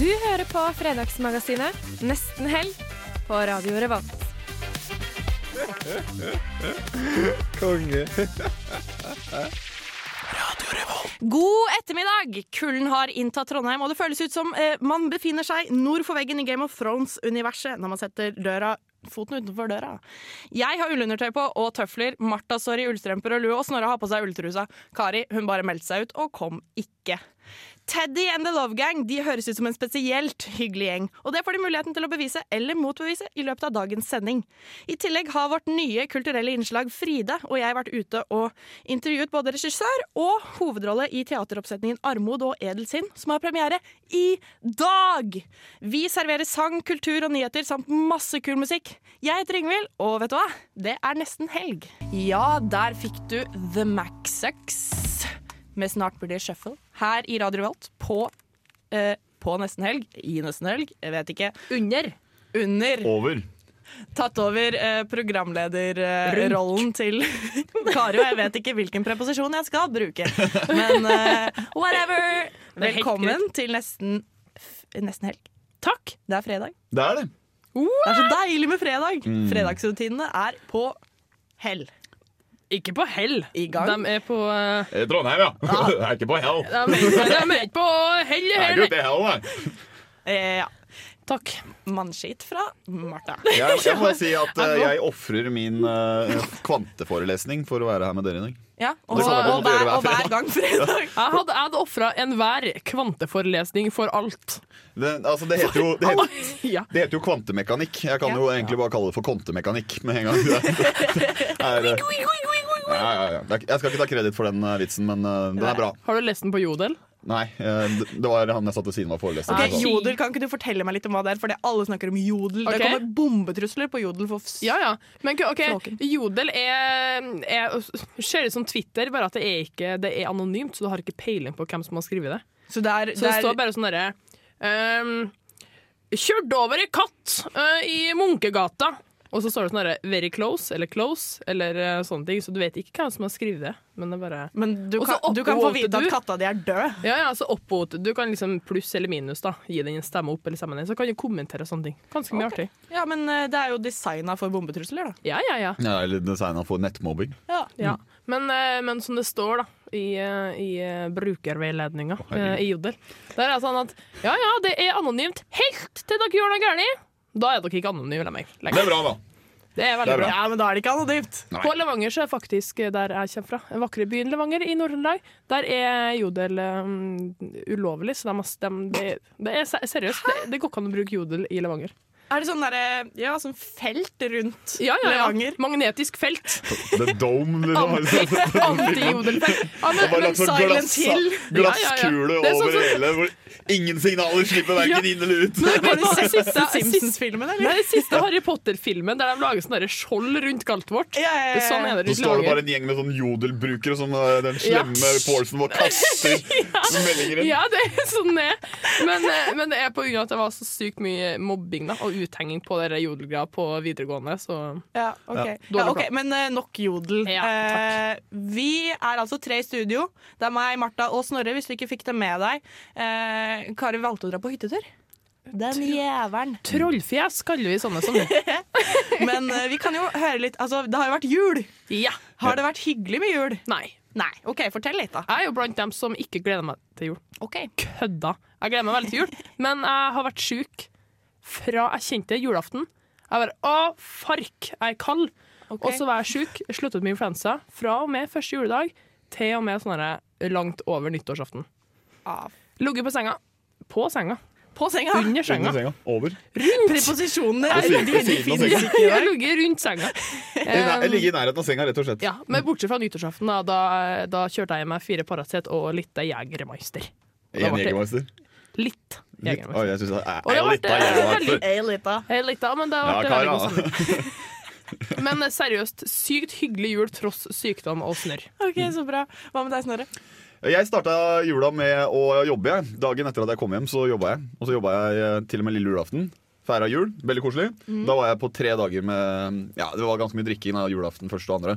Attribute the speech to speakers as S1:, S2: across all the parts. S1: Du hører på Fredagsmagasinet, nesten helg, på Radio Revolt.
S2: Konge.
S1: God ettermiddag! Kulden har inntatt Trondheim, og det føles ut som eh, man befinner seg nord for veggen i Game of Thrones-universet når man setter døra foten utenfor døra. Jeg har ullundertøy på og tøfler. Martha står i ullstrømper og lue, og Snorre har på seg ulltrusa. Kari hun bare meldte seg ut og kom ikke. Teddy and The Love Gang de høres ut som en spesielt hyggelig gjeng, og det får de muligheten til å bevise eller motbevise i løpet av dagens sending. I tillegg har vårt nye kulturelle innslag Frida og jeg vært ute og intervjuet både regissør og hovedrolle i teateroppsetningen Armod og Edelsinn, som har premiere i dag! Vi serverer sang, kultur og nyheter samt masse kul musikk. Jeg heter Ingvild, og vet du hva? Det er nesten helg. Ja, der fikk du The Maxucks med Snart blir det shuffle her i Radio Revolt på, eh, på nesten helg. I nesten helg, jeg vet ikke.
S3: Under.
S1: Under
S4: Over.
S1: tatt over eh, programlederrollen til Kari, og jeg vet ikke hvilken preposisjon jeg skal bruke. Men eh, whatever!
S3: er helt
S1: Velkommen til nesten, f- nesten helg. Takk, det er fredag.
S4: Det er det.
S1: Det er så deilig med fredag! Fredagsrutinene er på hell.
S3: Ikke på hell.
S1: I gang.
S3: De er på eh,
S4: Eh, Trondheim, ja. Det er ikke på hell.
S3: De er, de er ikke på hell,
S4: Det er
S3: hell.
S4: jo til hell, det.
S1: Eh, ja.
S3: Takk.
S1: Mannskitt fra Martha.
S4: Jeg, jeg må bare si at eh, jeg ofrer min eh, kvanteforelesning for å være her med dere i dag.
S1: Ja, og,
S4: Det
S1: og,
S4: kan jeg godt gjøre
S1: hver,
S4: hver
S1: og hver gang fredag.
S3: Jeg hadde, jeg hadde ofra enhver kvanteforelesning for alt.
S4: Det, altså, det heter jo det heter,
S3: Ja.
S4: det heter jo kvantemekanikk. Jeg kan jo egentlig bare kalle det for kontemekanikk med en gang. Det, er, eh, ja, ja, ja. Det er- Jeg skal ikke ta kreditt for den eh, vitsen, men eh, den er bra.
S3: Har du lest den på Jodel? altså.
S4: Nei, eh, det- det var han jeg satt ved siden av foreleseren.
S1: Ok,
S3: Nei.
S1: jodel, Kan ikke du fortelle meg litt om hva det er? Fordi alle snakker om jodel.
S3: Ok.
S1: Det kommer bombetrusler på jodel. For s-
S3: Ja, ja. Men ok,
S1: Flåken.
S3: Jodel er, er øh, ser ut som Twitter, bare at det er, ikke, det er anonymt, så du har ikke peiling på hvem som har skrevet det.
S1: Så det er,
S3: Så det,
S1: det er
S3: står bare sånn derre ehm, Kjørte over en katt eh, i Munkegata. Og så står det sånn derre very close eller close eller eh, sånne ting, så du vet ikke hvem som har skrevet det. Men det er bare
S1: Men du
S3: Og
S1: kan,
S3: så
S1: du kan få
S3: oppvåte
S1: vite at
S3: du.
S1: katta di er død.
S3: Ja, ja, så oppvot. Du kan liksom pluss eller minus, da. Gi den en stemme opp eller stemme ned. Så kan du kommentere sånne ting. Ganske mye
S1: Ok.
S3: artig.
S1: Ja, men eh, det er jo designa for bombetrusler, da.
S3: Ja, ja, ja.
S4: Ja, eller designa for nettmobbing.
S3: Ja.
S4: Mm.
S3: Men, eh, men som det står da i, eh, i eh, brukerveiledninga
S4: herregud.
S3: eh, i Jodel, der er det sånn at ja, ja, det er anonymt helt til dere gjør noe galt. Da er dere ikke anonyme lenger.
S4: Det er bra, da.
S3: Det er
S4: Det
S3: veldig
S4: er
S3: bra.
S4: bra.
S1: Ja, men da er det ikke anonymt.
S4: Nei.
S3: På Levanger så er faktisk eh, der jeg kommer fra, den vakre byen Levanger i Nord-Trøndelag, der er Jodel um, ulovlig, så de, har stemt- det, det er se- seriøst. Det, det går ikke an å bruke Jodel i Levanger.
S1: Er det sånn derre Ja, sånn felt rundt
S3: Ja, ja, ja.
S1: Levanger?
S3: Magnetisk felt.
S4: The Dome, liksom.
S3: Anti- Anti-Jodel-felt. Ja, men-
S4: Bare
S1: Men
S4: lagt sånn
S1: Silent
S4: glass,
S1: Hill.
S4: glasskule
S3: Ja, ja, ja. Det er sånn
S4: over
S3: som-
S4: hele, hvor ingen signaler slipper verken inn eller ut.
S3: Har du sett siste, siste,
S1: Simpsons-filmen,
S3: nei,
S1: eller?
S3: den siste Harry Potter-filmen der de lager sånn derre skjold rundt galtet vårt?
S1: Ja, ja, ja.
S3: Sånn er det
S4: Så
S3: rundt
S4: står det
S3: lager.
S4: bare en gjeng med sånn jodelbrukere som eh, den
S3: Ja.
S4: slemme Paulsen vår kaster meldinger inn.
S3: Ja, det er sånn det er. Men, eh, men det er på grunn av at det var så sykt mye mobbing da, og uthenging på dere jodelgreia på videregående. Så
S1: Ja, ok.
S3: dårlig
S1: Ja, ok,
S3: plan.
S1: Men eh, nok jodel.
S3: Ja,
S1: Eh, vi er altså tre i studio. Det er meg, Martha og Snorre, hvis du ikke fikk det med deg. Eh, Kari valgte å dra på hyttetur. Den jævelen.
S3: trollfjes kaller vi sånne som
S1: Men eh, vi kan jo høre litt Altså, det har jo vært jul.
S3: Ja.
S1: Har det vært hyggelig med jul?
S3: Nei.
S1: Nei. OK, fortell litt, da.
S3: Jeg er jo blant dem som ikke gleder meg til jul.
S1: Ok.
S3: Kødda. Jeg gleder meg veldig til jul, men jeg har vært sjuk fra jeg kjente julaften. Jeg bare Å, fark, jeg er kald.
S1: Ok.
S3: Og så var jeg sjuk, sluttet med influensa fra og med første juledag til og med sånn her langt over nyttårsaften.
S1: Av.
S3: Ligget på senga. På senga.
S1: Ah. På senga.
S3: Under senga.
S4: Under senga. Over.
S1: Preposisjonene
S4: På siden-
S1: er
S4: på siden av senga.
S3: Jeg har ligget rundt senga.
S4: I nær- Jeg ligger i nærheten av senga, rett og slett.
S3: Ja,
S1: Mm.
S3: Men bortsett fra nyttårsaften, da, da, da kjørte jeg i meg fire Paracet og litt Jegermeister.
S4: En Jegermeister.
S3: Litt.
S4: Litt,
S3: Jegermeister.
S4: oi, jeg synes det er,
S3: Og det
S4: er
S3: var-
S4: litt av Jegermeister.
S1: Jeg er litt da.
S3: Hei, Lita, men det har
S4: Ja,
S3: vært en veldig
S4: Kara.
S3: god sammenheng. Men eh, seriøst, sykt hyggelig jul tross sykdom og snørr.
S1: Ok, Så bra. Hva med deg, Snorre?
S4: Jeg starta jula med å jobbe. jeg. Dagen etter at jeg kom hjem, så jobba jeg. Og så jobba jeg eh, til og med lille julaften. Feira jul. Veldig koselig.
S1: Mhm.
S4: Da var jeg på tre dager med Ja, det var ganske mye drikking av julaften første og andre.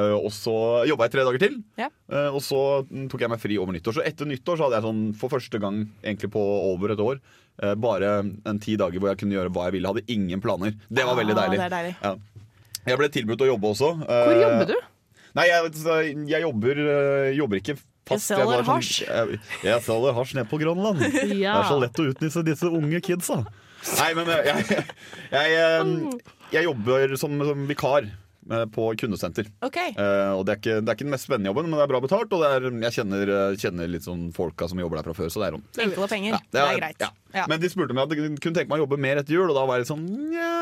S4: Eh, og så jobba jeg tre dager til.
S1: Ja.
S4: Eh, og så mm, tok jeg meg fri over nyttår. Så etter nyttår så hadde jeg sånn for første gang egentlig på over et år eh, bare en ti dager hvor jeg kunne gjøre hva jeg ville. Hadde ingen planer. Det var veldig
S1: Ah,
S4: deilig.
S1: det er deilig.
S4: Ja. Jeg ble tilbudt å jobbe også. eh,
S3: Hvor jobber du?
S4: Nei, jeg, altså, jeg jobber, øh, jobber ikke fast.
S1: Jeg selger
S4: bare sånn-
S1: hasj.
S4: jeg, jeg selger hasj ned på Grønland. Det er så lett å utnytte disse unge kidsa. Nei, men øh, jeg, jeg,
S1: Mm.
S4: øh, jeg jobber som, som vikar øh, på kundesenter.
S1: Ok.
S4: Eh, og det er, ikke, det er ikke den mest spennende jobben, men det er bra betalt. Og det er, jeg kjenner, øh, kjenner litt sånn folka som jobber der fra før, så det er om.
S1: Enkle penger.
S4: Ja,
S1: det, er, greit.
S4: ja.
S1: Ja.
S4: Men de spurte om jeg hadde- kunne tenke meg å jobbe mer etter jul, og da var jeg litt sånn Nja,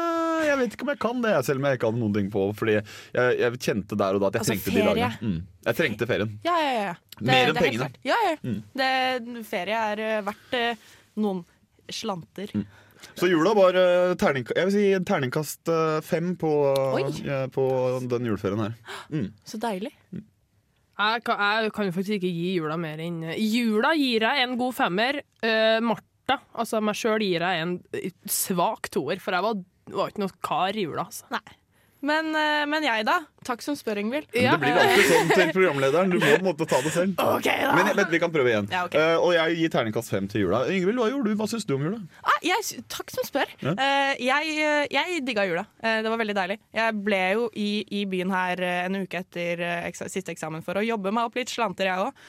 S4: jeg vet ikke om jeg kan det, selv om jeg ikke hadde noen ting på. Fordi jeg, jeg kjente der og da at jeg
S1: Altså,
S4: trengte
S1: ferie.
S4: de dagene. Mm. Jeg trengte ferien.
S1: Ja, ja, ja.
S4: Mer enn
S1: det er helt
S4: pengene. Mm.
S1: klart. Ja, ja. Det, ferie er eh, verdt eh, noen slanter.
S4: Mm. Så jula var eh, terning, jeg vil si terningkast eh, fem på,
S1: Oi.
S4: eh, på den juleferien her. Mm.
S1: Så deilig.
S3: Jeg kan, jeg kan jo faktisk ikke gi jula mer enn Jula gir jeg en god femmer. Eh, Martha, altså meg sjøl, gir jeg en eh, svak toer, for jeg var, var ikke noe kar i jula. Altså.
S1: Men, eh, men jeg, da? Takk som spør, Ingvild.
S4: Men det blir alltid sånn til programlederen. Du må på en måte ta det selv.
S1: Ok, da.
S4: Men, men vi kan prøve igjen.
S1: Ja, ok.
S4: Eh, og jeg gir terningkast fem til jula. Ingvild, hva gjorde du? Hva syns du om jula?
S1: Ah, jeg, sy- takk som spør.
S4: Ja.
S1: Eh, jeg, eh, jeg digga jula. Eh, det var veldig deilig. Jeg ble jo i, i byen her eh, en uke etter eh, eksa siste eksamen for å jobbe meg opp litt slanter, jeg òg.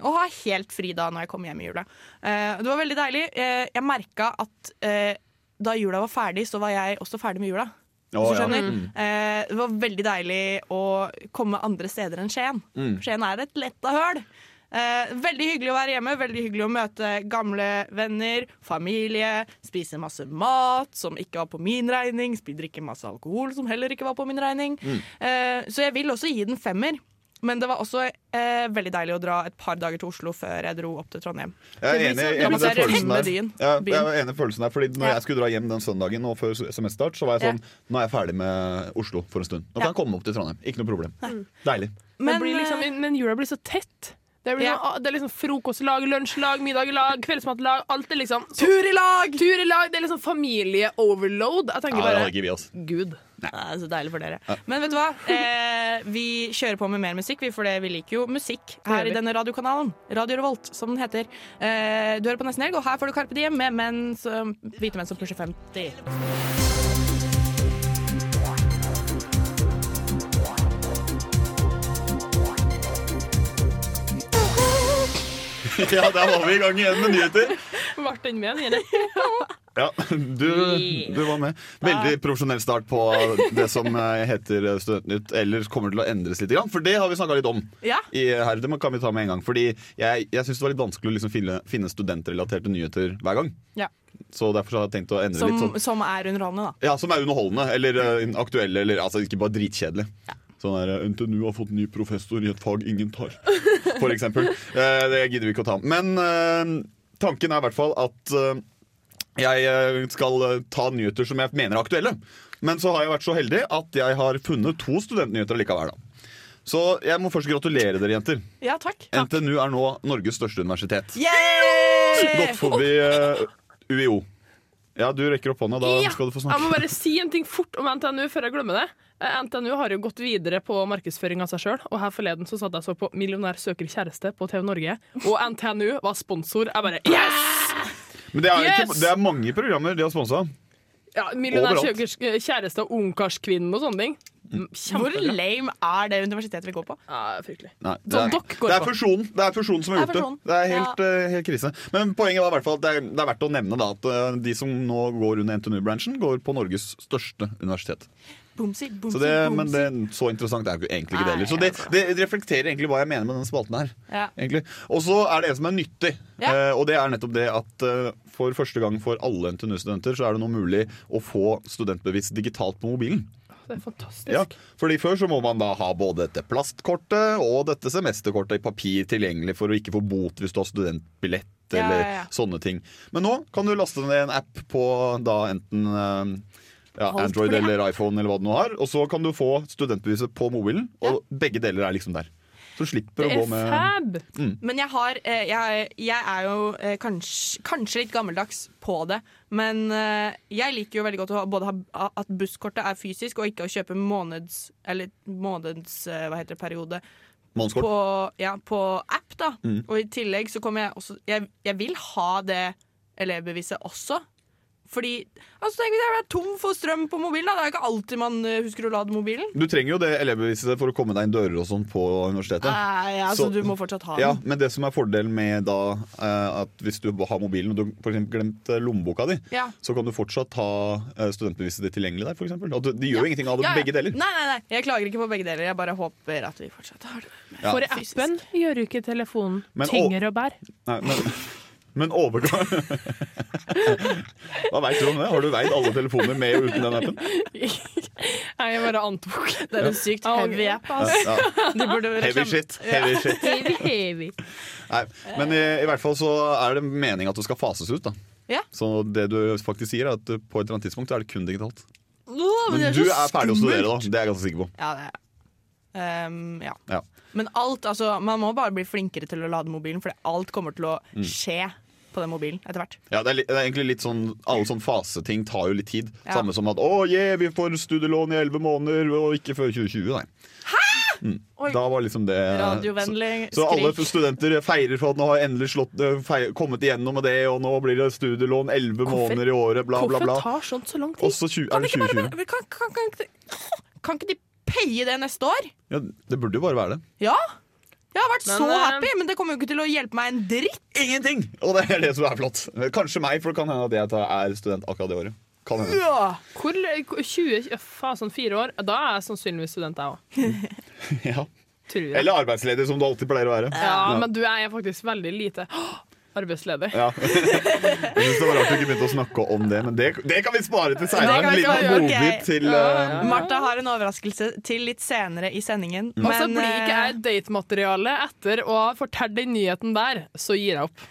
S1: og ha helt fri da når jeg kom hjem i jula. Eh, det var veldig deilig. Eh, jeg merka at eh, da jula var ferdig, så var jeg også ferdig med jula.
S4: Å,
S1: Hvis du
S4: ja.
S1: skjønner.
S4: Mm.
S1: Eh, det var veldig deilig å komme andre steder enn Skien.
S4: Mm.
S1: Skien er et letta høl. Eh, veldig hyggelig å være hjemme, veldig hyggelig å møte gamle venner, familie, spise masse mat som ikke var på min regning, spi- drikke masse alkohol som heller ikke var på min regning.
S4: Mm.
S1: Eh, så jeg vil også gi den femmer. Men det var også eh, veldig deilig å dra et par dager til Oslo før jeg dro opp til Trondheim.
S4: Jeg er
S1: Det
S4: enig,
S1: blir så-
S4: enig
S1: man
S4: i den
S1: ser
S4: følelsen der.
S1: hjemmebyen.
S4: Ja, jeg
S1: Byen.
S4: er enig i følelsen der Fordi når
S1: Ja.
S4: jeg skulle dra hjem den søndagen nå før semesterstart, så var jeg sånn Nå er jeg ferdig med Oslo for en stund. Nå kan jeg komme opp til Trondheim. Ikke noe problem.
S1: Mm.
S4: Deilig.
S3: Men, blir
S1: eh,
S3: liksom, men jula blir så tett. Det, blir
S1: Ja.
S3: noe, det er liksom frokostlag, lunsjlag, middagslag, kveldsmatlag. Alt er liksom
S1: Tur i lag!
S3: Tur i lag! Det er liksom familie-overload. Jeg
S4: Ja,
S3: tenker
S4: det hadde
S3: bare
S4: ikke vi, altså.
S3: Gud.
S1: Ja, det er så deilig for dere. Men vet du hva? Eh, vi kjører på med mer musikk, vi, for det, vi liker jo musikk
S3: gjør
S1: her i
S3: vi.
S1: denne radiokanalen. Radio Revolt, som den heter. Eh, du hører på Nesten Helg, og her får du Carpe Diem med menn som, hvite menn som pusher 50.
S4: Ja, der var vi i gang igjen med nyheter.
S3: Ble den med, den gjelder?
S4: Ja, du, du var med. Veldig profesjonell start på det som eh, heter Studentnytt, eller kommer til å endres litt. For det har vi snakka litt om.
S1: Ja.
S4: I her, det må- kan vi ta med en gang. Fordi jeg, jeg syns det var litt vanskelig å liksom finne, finne studentrelaterte nyheter hver gang.
S1: Ja.
S4: Så derfor så har jeg tenkt å endre
S1: Som,
S4: litt sånn.
S1: som er underholdende, da.
S4: Ja, som er underholdende, eller eh, aktuelle, eller altså ikke bare dritkjedelig. Sånn der, eh, NTNU har fått ny professor i et fag ingen tar, for eksempel. Eh, det gidder vi ikke å ta. Men eh, tanken er i hvert fall at eh, jeg eh, skal eh, ta nyheter som jeg mener er aktuelle. Men så har jeg vært så heldig at jeg har funnet to studentnyheter likevel. Da. Så jeg må først gratulere dere, jenter.
S1: Ja, takk.
S4: NTNU er nå Norges største universitet.
S1: Yeah!
S4: Gått forbi eh, UiO. Ja, du rekker opp hånda. Da
S3: Ja.
S4: skal du få snakke.
S3: Jeg må bare si en ting fort om NTNU før jeg glemmer det. Eh, NTNU har jo gått videre på markedsføring av seg sjøl, og her forleden så satt jeg og så på 'Millionær søker kjæreste' på TV Norge, og NTNU var sponsor. Jeg bare Yes!
S4: Men det er, ikke,
S3: Yes!
S4: det er mange programmer de har sponsa.
S3: Ja, 'Millionær
S4: Overalt.
S3: søker kjæreste' og 'Ungkarskvinnen' og sånne ting. Mm,
S1: Hvor
S3: Kjempebra.
S1: lame er det universitetet vi går på?
S3: Ja, fryktelig.
S4: Nei, det,
S3: Som
S4: er,
S3: dere går
S4: det er
S3: på.
S4: fusjonen Det er fusjonen som har
S1: Det
S4: gjort det.
S1: er fusjonen.
S4: Det er helt, eh, helt krise. Men poenget var i hvert fall at det er, det er verdt å nevne da, at eh, de som nå går under NTNU-bransjen, går på Norges største universitet.
S1: Bomsi, bomsi,
S4: Så det, men
S1: bomsi.
S4: det, så interessant er jo egentlig ikke det
S1: Nei,
S4: heller. Så det, det reflekterer egentlig hva jeg mener med den spalten her.
S1: Ja.
S4: egentlig. Og så er det en som er nyttig,
S1: Ja.
S4: eh, og det er nettopp det at eh, for første gang for alle NTNU-studenter så er det nå mulig å få studentbevis digitalt på mobilen.
S3: Det er fantastisk.
S4: Ja, fordi Før så må man da ha både dette plastkortet og dette semesterkortet i papir tilgjengelig for å ikke få bot hvis du har studentbillett.
S1: Ja,
S4: Eller
S1: ja, ja.
S4: sånne ting Men nå kan du laste ned en app på da enten eh, ja,
S1: Alt
S4: Android
S1: mulig
S4: eller iPhone, eller hva du nå har og så kan du få studentbeviset på mobilen. Og begge deler er liksom der. Så du slipper
S3: Det
S4: å gå
S3: er
S4: med Mm.
S3: fab!
S1: Men jeg har eh, Jeg, jeg er jo eh, kanskje, kanskje litt gammeldags på det. Men eh, jeg liker jo veldig godt å ha, både ha, at busskortet er fysisk, og ikke å kjøpe måneds... Eller måneds... eh, Hva heter det? Periode.
S4: månedskort. Mm.
S1: På, ja, på app, da. Og i tillegg så kommer jeg også Jeg, jeg vil ha det elevbeviset også. Fordi altså tenk Hvis jeg er tom for strøm på mobilen, da. Det er jo ikke alltid man eh, husker å lade mobilen.
S4: Du trenger jo det elevbeviset for å komme deg inn dører og sånn på universitetet.
S1: Nei, altså,
S4: Så-
S1: du må fortsatt ha den.
S4: Ja, men det som er fordelen med da eh, at hvis du har mobilen og du for eksempel glemte lommeboka di,
S1: Ja.
S4: så kan du fortsatt ha eh, studentbeviset ditt tilgjengelig der, for eksempel. Og du- de gjør jo ingenting av det,
S1: Ja, ja.
S4: begge deler.
S1: Nei, nei, nei, jeg klager ikke på begge deler. Jeg bare håper at vi fortsatt har det. med
S4: Ja.
S3: For
S1: fysisk.
S3: appen gjør jo ikke telefonen
S4: Men, og-
S3: tyngre å bære.
S4: Nei, men... Men overgang Hva veit du om det? Har du veid alle telefoner med og uten den appen?
S3: Nei, jeg bare antok.
S1: Det er en sykt
S3: Ja.
S1: heavy app, ass.
S4: Ja.
S1: De burde
S4: Heavy
S1: reklame-
S4: shit. Heavy shit.
S3: Heavy, heavy.
S4: Nei. Men i, i hvert fall så er det meninga at du skal fases ut, da.
S1: Ja.
S4: Så det du faktisk sier, er at på et eller annet tidspunkt så er det kun digitalt.
S1: Åh,
S4: Men
S1: det
S4: du
S1: så
S4: er ferdig å studere, da.
S1: skummelt.
S4: Det er jeg ganske sikker på.
S1: Ja, det er jeg. Ehm, ja.
S4: Ja.
S1: Men alt, altså, man må bare bli flinkere til å lade mobilen, for alt kommer til å
S4: Mm.
S1: skje på den mobilen etter hvert.
S4: Ja, det er, li- det er egentlig litt sånn Alle sånne faseting tar jo litt tid.
S1: Ja.
S4: Samme som at 'Å yeah, vi får studielån i elleve måneder', og ikke før 2020, nei.
S1: Oi.
S4: Da var liksom det eh,
S1: Radiovennlig
S4: Så, så alle
S1: skrik.
S4: studenter feirer for at nå har jeg endelig slått, eh, fei- kommet igjennom med det, og nå blir det studielån elleve måneder i året, bla, bla,
S3: Hvorfor
S4: bla.
S3: tar sånt så lang
S4: Og
S3: tid?
S4: så tju- er det 2020.
S1: Men Kan, kan, kan, ikke de- kan ikke de paye det neste år?
S4: Ja, det burde jo bare være det.
S1: Ja! Jeg har vært
S3: Men,
S1: så
S3: eh,
S1: happy, men det kommer jo ikke til å hjelpe meg en dritt.
S4: Ingenting! Og det er det som er flott. Kanskje meg, for det kan hende at jeg tar- er student akkurat det året. Kan hende.
S1: Ja.
S3: Hvor, hvor- 20, ja, faen, sånn fire år, da er jeg sannsynligvis student, jeg òg.
S4: Ja.
S3: Tror jeg.
S4: Eller arbeidsledig, som du alltid pleier å være.
S3: Ja, men du er faktisk veldig lite Åh, arbeidsledig.
S4: Ja. Jeg synes det var rart du ikke begynte å snakke om det, men det, det kan vi spare til
S1: Det
S4: seinere. En
S1: kan vi
S4: liten
S1: spare, ok.
S4: godbit til eh,
S1: Martha har en overraskelse til litt senere i sendingen.
S4: Mm.
S3: Og så
S1: men,
S3: Altså, blir ikke
S1: eh,
S3: jeg datemateriale etter å ha fortalt den nyheten der, så gir jeg opp.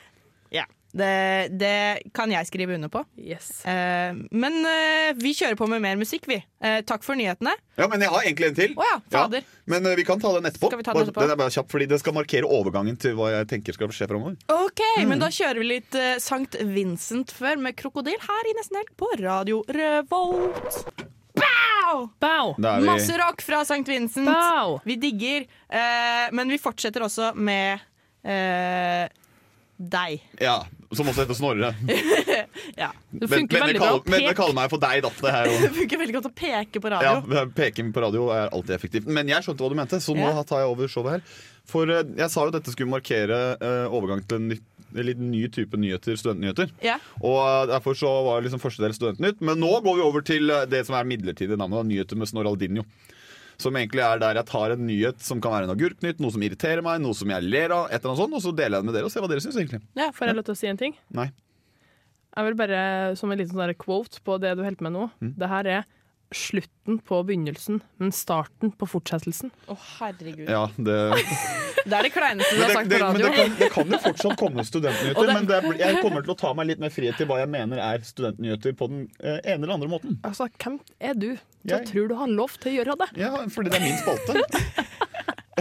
S1: Ja, det, det kan jeg skrive under på.
S3: Yes.
S1: Eh, men eh, vi kjører på med mer musikk, vi. Eh, takk for nyhetene.
S4: Ja, men jeg har egentlig en til.
S1: Å ja, fader.
S4: Men eh, vi kan ta den etterpå.
S1: Skal vi ta den etterpå?
S4: er bare kjapp, fordi Det skal markere overgangen til hva jeg tenker skal skje framover.
S1: Ok,
S3: Mm.
S1: men da kjører vi litt eh, Sankt Vincent før med Krokodil her i Nesten Helg på Radio Revolt. Bow!
S3: Bow!
S4: Da er vi-
S1: Masse rock fra Sankt Vincent.
S3: Bow!
S1: Vi digger. eh, men vi fortsetter også med eh, deg.
S4: Ja, Som også heter Snorre.
S1: Ja.
S3: Det
S4: Men-
S3: funker
S4: men jeg
S3: veldig
S4: kaller-
S3: bra.
S4: Men jeg kaller meg for deg, da. Det her,
S1: Det
S4: og,
S1: funker veldig godt å peke på radio.
S4: ja, Peking på radio er alltid effektivt. Men jeg skjønte hva du mente, så nå
S1: Ja.
S4: tar jeg over showet her. For eh, jeg sa jo dette skulle markere eh, overgang til en ny, en litt ny type nyheter, studentnyheter.
S1: Ja.
S4: Og eh, Derfor så var liksom første del Studentnytt. Men nå går vi over til eh, det som er midlertidig navnet, da, nyheter med Snoraldinho. Som egentlig er der jeg tar en nyhet som kan være en agurknytt, noe som irriterer meg, noe som jeg ler av, et eller annet sånt, og så deler jeg det med dere og ser hva dere syns, egentlig.
S3: Får jeg lov til å si en ting?
S4: Nei.
S3: Jeg vil bare, Som en liten sånn der quote på det du holder på med nå.
S4: Mm.
S3: Det her er slutten på begynnelsen, men starten på fortsettelsen.
S1: Å, herregud.
S4: Ja, det
S1: Det er det kleineste
S4: Men
S1: du har
S4: det,
S1: sagt
S4: det,
S1: på
S4: men det,
S1: radio.
S4: kan, det kan jo fortsatt komme
S1: Og
S4: studentnyheter,
S1: det-
S4: men det, er- jeg kommer til å ta meg litt mer frihet til hva jeg mener er studentnyheter på den eh, ene eller andre måten.
S3: Altså, Hvem er du? Jeg
S4: Jeg.
S3: tror du har lov til å gjøre det.
S4: Ja, fordi det er min spalte.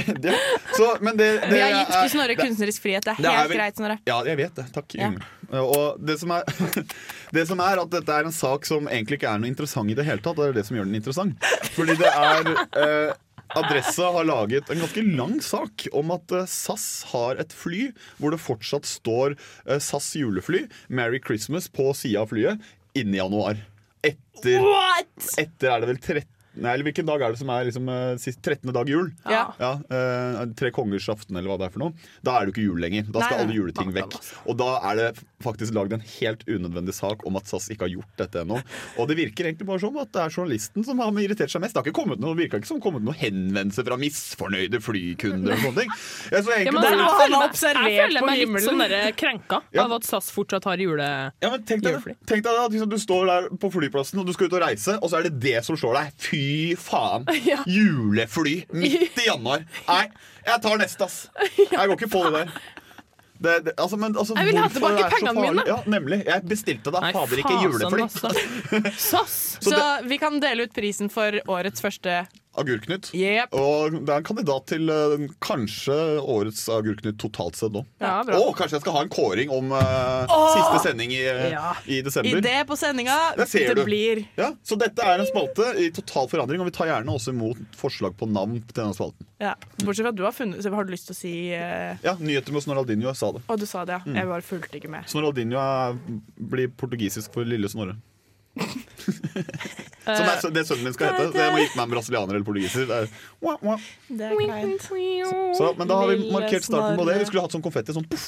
S4: Det, så, men det, det
S1: Vi har gitt
S4: er-
S1: Snorre kunstnerisk frihet. Det er
S4: Det er
S1: helt
S4: vel-
S1: greit, Snorre.
S4: Ja, jeg vet det. Takk.
S1: Ja.
S4: Yngve. Og det som, er, det som er at dette er en sak som egentlig ikke er noe interessant i det hele tatt. Det er det som gjør den interessant. Fordi det er eh, Adressa har laget en ganske lang sak om at eh, SAS har et fly hvor det fortsatt står eh, SAS julefly, Merry Christmas, på sida av flyet innen januar. Etter,
S1: What?!
S4: etter er det vel 13 Nei, eller hvilken dag er det som er liksom, eh, sist, 13. dag jul?
S1: Ja.
S4: Ja, eh, Tre kongers aften, eller hva det er for noe. Da er det jo ikke jul lenger. Da skal
S1: Nei, nei.
S4: alle juleting vekk. Og da er det faktisk lagd en helt unødvendig sak om at SAS ikke har gjort dette ennå. Og det virker egentlig bare som at det er journalisten som har irritert seg mest. Det har ikke kommet noe, virka ikke som kommet noen henvendelser fra misfornøyde flykunder og sånne ting. Jeg så egentlig
S3: men
S4: bare-
S3: jeg,
S1: må han
S3: føler
S1: ha
S3: meg,
S1: observert
S3: jeg føler
S1: på
S3: meg litt
S1: himmelen.
S3: sånn der krenka
S4: sånn Ja.
S3: av at SAS fortsatt har jule...
S4: ja, men tenk deg, det.
S3: Julefly.
S4: tenk deg det, at liksom, du står der på flyplassen og du skal ut og reise, og så er det det som slår deg. Fy fy faen!
S3: Ja.
S4: Julefly midt i januar! Nei, jeg tar neste, ass. Jeg går ikke på det der. Det, det, altså, men, altså,
S3: Jeg vil ha
S4: hvorfor
S3: tilbake
S4: det er så
S3: pengene
S4: farlig?
S3: mine.
S4: Ja, nemlig. Jeg bestilte da
S3: Nei,
S4: fader ikke
S3: fasen,
S4: julefly.
S3: altså. SAS!
S1: Så, vi kan dele ut prisen for årets første
S4: Agurknytt.
S1: Jepp.
S4: Og det er en kandidat til eh, kanskje årets Agurknytt totalt sett nå.
S3: Ja, bra.
S4: Og kanskje jeg skal ha en kåring om eh, siste sending i, eh,
S3: Ja.
S4: i desember.
S1: idé på sendinga.
S4: Der ser
S1: det
S4: du.
S1: blir
S4: Ja, så dette er en spalte i total forandring, og vi tar gjerne også imot forslag på navn til denne spalten.
S1: ja. Bortsett fra at du har funnet så Har du lyst til å si eh,
S4: Ja, Nyheter med Snoraldinho, jeg sa det.
S1: Å, du sa det, ja.
S4: Mm.
S1: Jeg bare fulgte ikke med.
S4: Snoraldinho er, blir portugisisk for lille Snorre.
S1: eh,
S4: Som er, sø- det sønnen min skal hete. Så jeg må gifte meg med en brasilianer eller portugiser. Det er, wah, wah.
S1: Det er kleint.
S4: Så, men da har vi
S1: Lille
S4: markert starten på det.
S1: Snorre.
S4: Vi skulle hatt sånn konfetti. Sånn puff,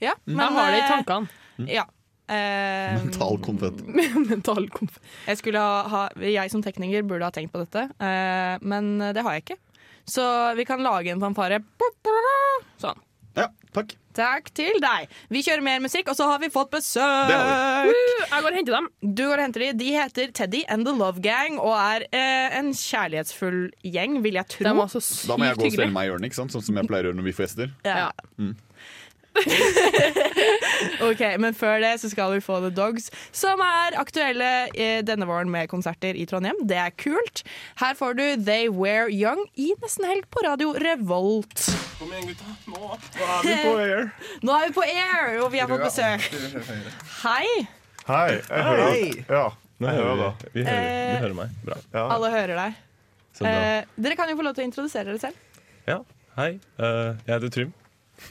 S1: Ja, men
S3: Jeg har det i
S1: eh,
S3: tankene.
S1: Ja. Eh,
S4: mental konfetti.
S3: Mental konf...
S1: jeg, skulle ha, ha, jeg som tekniker burde ha tenkt på dette, eh, men det har jeg ikke. Så vi kan lage en fanfare. Sånn.
S4: Ja, takk.
S1: Takk til deg. Vi kjører mer musikk, og så har vi fått besøk.
S4: Det har
S3: Jeg går og henter dem.
S1: Du går og henter de. De heter Teddy and The Love Gang og er eh, en kjærlighetsfull gjeng, vil jeg
S3: De
S1: tro.
S3: var så
S4: Da
S3: sykt
S4: må jeg gå og stelle
S3: hyggelige.
S4: meg i hjørnet, ikke sant? sånn som jeg pleier å gjøre når vi får gjester.
S1: Ja.
S5: Mm.
S1: ok, Men før det så skal vi få The Dogs, som er aktuelle eh, denne våren med konserter i Trondheim. Det er kult. Her får du They Wear Young i nesten helg på radio Revolt.
S6: Kom igjen, gutta. Nå.
S1: Nå er vi på air, og vi har fått besøk. Hei.
S7: Hei, jeg hører Ja, jeg hører da.
S5: Vi hører,
S1: Eh.
S5: du hører meg. Bra.
S7: Ja.
S1: Alle hører deg.
S5: Så bra.
S1: Eh, dere kan jo få lov til å introdusere dere selv.
S5: Ja, hei. Eh, jeg heter Trym.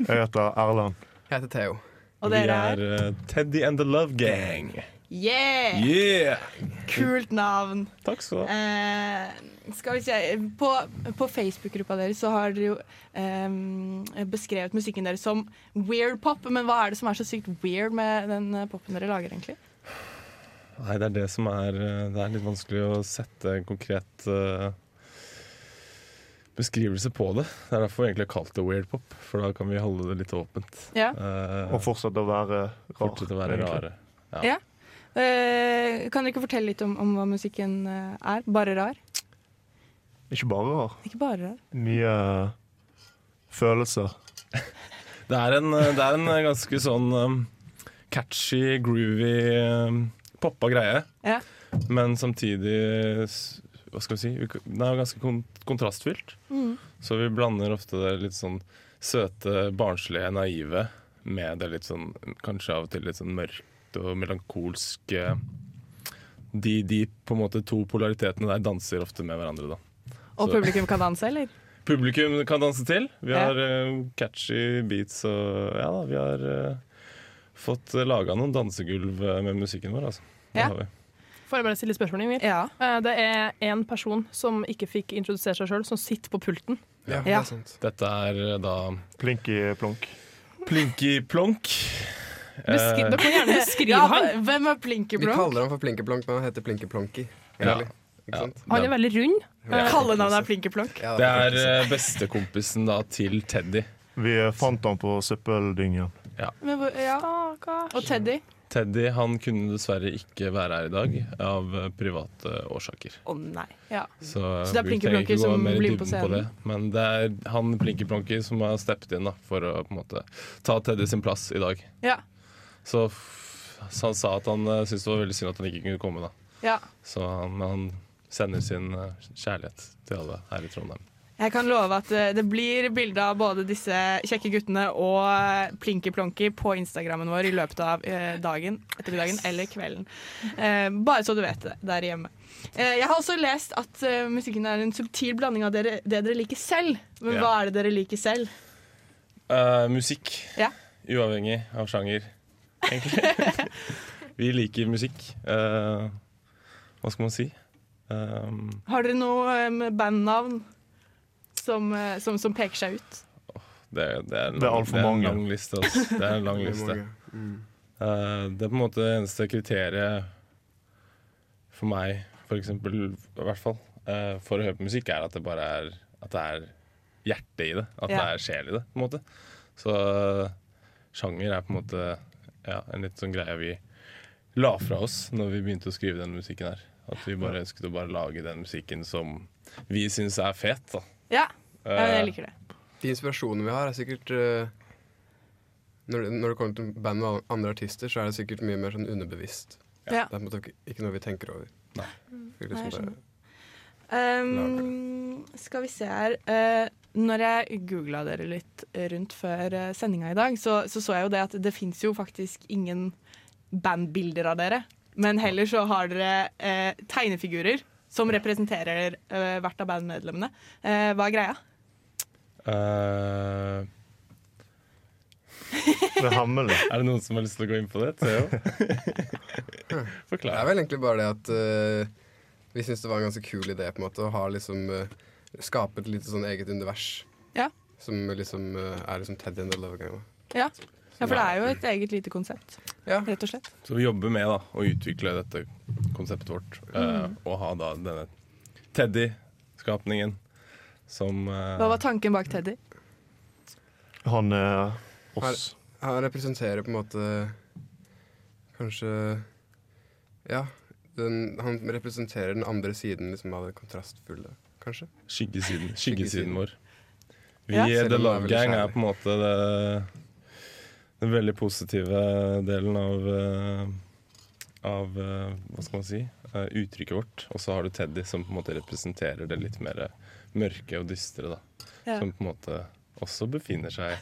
S7: Jeg heter Erland.
S2: Jeg heter Theo.
S1: Og
S5: Vi
S1: dere
S5: er eh, Teddy and the Love Gang.
S1: Yeah!
S5: Yeah!
S1: Kult navn.
S5: Takk skal du ha.
S1: Eh, skal vi se På, på Facebook-gruppa deres så har dere jo eh, beskrevet musikken deres som weird pop. Men hva er det som er så sykt weird med den eh, popen dere lager, egentlig?
S5: Nei, det er det som er eh, Det er litt vanskelig å sette en konkret eh, beskrivelse på det. Det er derfor vi egentlig har kalt det weird pop, for da kan vi holde det litt åpent.
S1: Ja.
S5: Eh,
S7: Og fortsatt å være rar.
S5: fortsette å være
S7: egentlig.
S5: rare.
S1: Eh, kan dere ikke fortelle litt om, om hva musikken eh, er? Bare rar?
S7: Ikke bare rar.
S1: Ikke bare rar.
S7: Mye eh, følelser.
S5: Det er en, eh, det er en ganske sånn um, catchy, groovy, um, poppa greie.
S1: Ja.
S5: Men samtidig s- Hva skal vi si? uk- Den er jo ganske kon kontrastfylt.
S1: Mm.
S5: Så vi blander ofte det litt sånn søte, barnslige, naive med det litt sånn kanskje av og til litt sånn mørkt og melankolske de, de på en måte to polaritetene der danser ofte med hverandre, da.
S1: Og
S5: Så-
S1: publikum kan danse, eller?
S5: Publikum kan danse til. Vi
S1: Ja.
S5: har eh, catchy beats og ja da, vi har eh, fått laga noen dansegulv eh, med musikken vår, altså. Det
S1: Ja.
S5: har vi.
S3: Får jeg bare stille spørsmål, Ingvild?
S1: Ja.
S3: Eh, Det er én person som ikke fikk introdusert seg sjøl, som sitter på pulten.
S5: Ja.
S1: Ja.
S5: Dette er eh, da
S7: Plinky eh, plonk.
S5: Plinky Plonk.
S3: Beskri
S5: Eh,
S3: Dere kan gjerne beskrive
S1: Ja,
S3: han.
S1: hvem er
S2: Vi
S1: Plinkeblom?
S2: kaller ham for Plinkeplonk, men han heter Plinkeplonki.
S5: Ja.
S2: egentlig. Ikke
S5: Ja.
S2: sant?
S3: Han er veldig rund.
S1: Kallenavnet er Plinkeplonk.
S2: Ja,
S5: Det er eh, bestekompisen da til Teddy.
S7: Vi eh, fant han på søppeldyngen.
S1: Men hvor- Ja. Og Teddy?
S5: Teddy han kunne dessverre ikke være her i dag av eh, private årsaker.
S1: Å nei. Ja.
S5: Så,
S1: Så det er
S5: vi
S1: Plinky
S5: trenger ikke
S1: Plonky
S5: gå
S1: som
S5: mer i
S1: blir med på
S5: dybden det. Men det er han Plinky Plonky som har steppet inn da, for å på en måte ta Teddy sin plass i dag.
S1: Ja.
S5: Så, f- så han sa at han eh, syntes det var veldig synd at han ikke kunne komme. da.
S1: ja.
S5: Så han, men han sender sin eh, kjærlighet til alle her i Trondheim.
S1: Jeg kan love at eh, det blir bilde av både disse kjekke guttene og eh, Plinky Plonky på Instagrammen vår i løpet av eh, dagen, ettermiddagen eller kvelden. Eh, Bare så du vet det der hjemme. Eh, Jeg har også lest at eh, musikken er en subtil blanding av dere, det dere liker selv. Men
S5: Ja.
S1: hva er det dere liker selv?
S5: Eh, musikk,
S1: Ja.
S5: uavhengig av sjanger, egentlig. Vi liker musikk. Eh, hva skal man si? Um,
S1: Har dere noe eh, med bandnavn som, eh, som, som peker seg ut?
S5: Det, det er, en
S7: Det er
S5: lang-
S7: altfor
S5: det er en
S7: mange.
S5: lang liste. Altså. Det er en lang liste.
S7: Mm.
S5: Eh, det er på en måte det eneste kriteriet for meg, for eksempel, i hvert fall, eh, for å høre på musikk, er at det bare er At det er hjerte i det. At det
S1: Ja.
S5: er sjel i det, på en måte. Så eh, sjanger er på en måte ja, en litt sånn greie vi la fra oss når vi begynte å skrive den musikken her. At vi bare ønsket å bare lage den musikken som vi syns er fet. Da.
S1: Ja, ja
S5: Eh,
S1: jeg liker det.
S2: De inspirasjonene vi har, er sikkert eh, når, det- når det kommer til band og andre artister, så er det sikkert mye mer sånn underbevisst.
S1: Ja.
S2: Det er på en måte ikke- ikke noe vi tenker over.
S5: Nei.
S2: Det er
S1: Nei, jeg
S2: Liksom bare,
S1: skjønner. Um, skal vi se her Eh, Når jeg googla dere litt rundt før eh, sendinga i dag, så, så så jeg jo det at det fins jo faktisk ingen bandbilder av dere. Men heller så har dere eh, tegnefigurer som representerer eh, hvert av bandmedlemmene. Eh, hva er greia?
S5: Eh,
S7: Det er hemmelig.
S5: er det noen som har lyst til å gå inn på det? Theo?
S2: det er
S5: Forklar.
S2: vel egentlig bare det at eh, vi syntes det var en ganske kul idé på en måte, å ha liksom eh, skape et lite sånn eget univers.
S1: Ja.
S2: Som liksom eh, er liksom Teddy and the Lovegang.
S1: Ja. ja, for det er jo et eget lite konsept,
S2: Ja.
S1: rett og slett.
S5: Så vi jobber med da, å utvikle dette konseptet vårt. eh, og ha da denne Teddy-skapningen som eh,
S1: Hva var tanken bak Teddy?
S7: Han er oss.
S2: Han representerer på en måte Kanskje Ja. Den, han representerer den andre siden liksom, av det kontrastfulle, kanskje.
S5: Skyggesiden,
S2: Skyggesiden.
S5: skyggesiden vår. Vi,
S1: Ja.
S2: Selv om
S5: The
S2: det er
S5: Love
S2: veldig
S5: Gang er
S2: kjærlig.
S5: på en måte det, den veldig positive delen av, eh, av eh, hva skal man si, eh, uttrykket vårt. Og så har du Teddy, som på en måte representerer det litt mer mørke og dystre. da.
S1: Ja.
S5: Som på en måte også befinner seg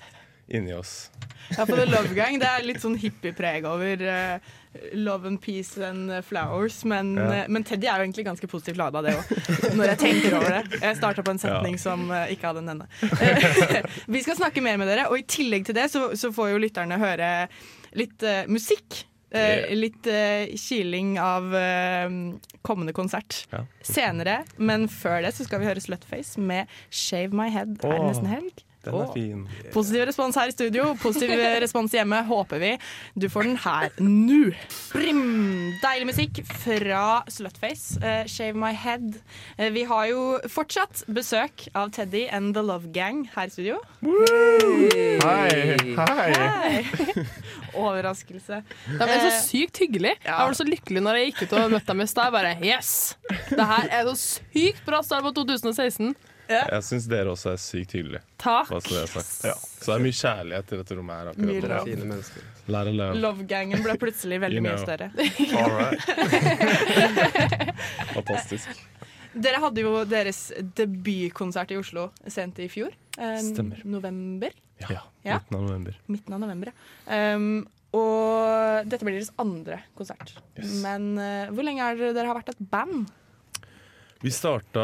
S5: inni oss.
S1: Ja, for The Love Gang det er litt sånn hippiepreg over eh, love and peace and eh, flowers. Men,
S5: Ja.
S1: eh, men Teddy er jo egentlig ganske positivt lada, det òg, når jeg tenker over det. Jeg starta på en setning som eh, ikke hadde en ende. Eh, vi skal snakke mer med dere, og i tillegg til det så, så får jo lytterne høre litt eh, musikk. eh,
S5: Yeah.
S1: Litt eh, kiling av eh, kommende konsert
S5: Ja.
S1: senere. Men før det så skal vi høre Slutface med 'Shave My Head'. Er det
S5: Åh.
S1: nesten helg?
S5: Den
S1: Åh.
S5: er fin.
S1: Positiv respons her i studio, positiv respons hjemme, håper vi. Du får den her nå. Brim! Deilig musikk fra Slutface, eh, 'Shave My Head'. Eh, vi har jo fortsatt besøk av Teddy and The Love Gang her i studio.
S7: Hei! Hei!
S1: Hei. Overraskelse. Eh,
S3: De er så sykt hyggelige.
S1: Ja.
S3: Jeg var så lykkelig når jeg gikk ut og møtte dem i stad. Jeg bare Yes! Det her er så sykt bra start på 2016.
S5: Jeg syns dere også er sykt hyggelige.
S3: Takk.
S5: Hva skal jeg ha sagt? Så det er mye kjærlighet i dette rommet her
S1: Mye
S5: akkurat nå.
S1: Ja.
S2: Fine mennesker.
S5: Lære love.
S1: Love Gangen ble plutselig veldig
S5: You
S1: mye
S5: know.
S1: større.
S7: All right.
S5: Fantastisk.
S1: Dere hadde jo deres debutkonsert i Oslo sent i fjor. eh,
S5: Stemmer.
S1: November.
S5: Ja.
S1: Ja.
S5: Midten av november.
S1: midten av november. ja. Um, og dette blir deres andre konsert.
S5: Yes.
S1: Men eh, hvor lenge er det dere har vært et band?
S5: Vi starta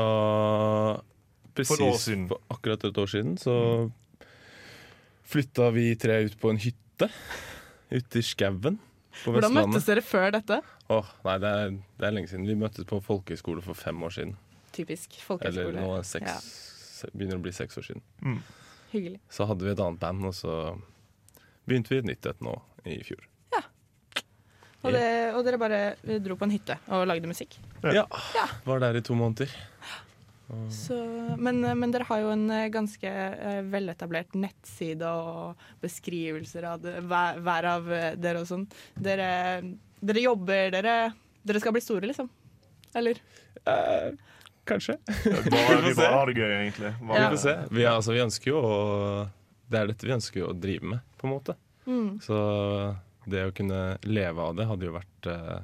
S5: presis
S7: For et år siden. Mm.
S5: for akkurat et år siden. Så flytta vi tre ut på en hytte ute i skauen på
S1: Hvordan møttes
S5: Vestlandet.
S1: dere før dette?
S5: Åh, nei, det er, det er lenge siden. Vi møttes på folkehøyskole for fem år siden.
S1: Typisk
S5: Eller
S1: folkehøyskole.
S5: nå er det seks,
S1: Ja,
S5: se- begynner å bli seks år siden.
S7: Mm.
S1: hyggelig.
S5: Så hadde vi et annet band, og så begynte vi et nytt et nå i fjor.
S1: Og, det, og dere bare dro på en hytte og lagde musikk.
S5: Ja. Var der i to måneder.
S1: Så, men, men dere har jo en eh, ganske eh, veletablert nettside og beskrivelser av det, hver, hver av eh, dere og sånn. Dere, dere jobber, dere, dere skal bli store, liksom. Eller?
S4: Eh,
S5: Kanskje.
S7: Bare, vi bare har det gøy, egentlig. Bare,
S5: Vi får se. Vi, altså, vi ønsker jo å Det er dette vi ønsker jo å drive med, på en måte.
S1: Mm.
S5: Så det å kunne leve av det hadde jo vært eh,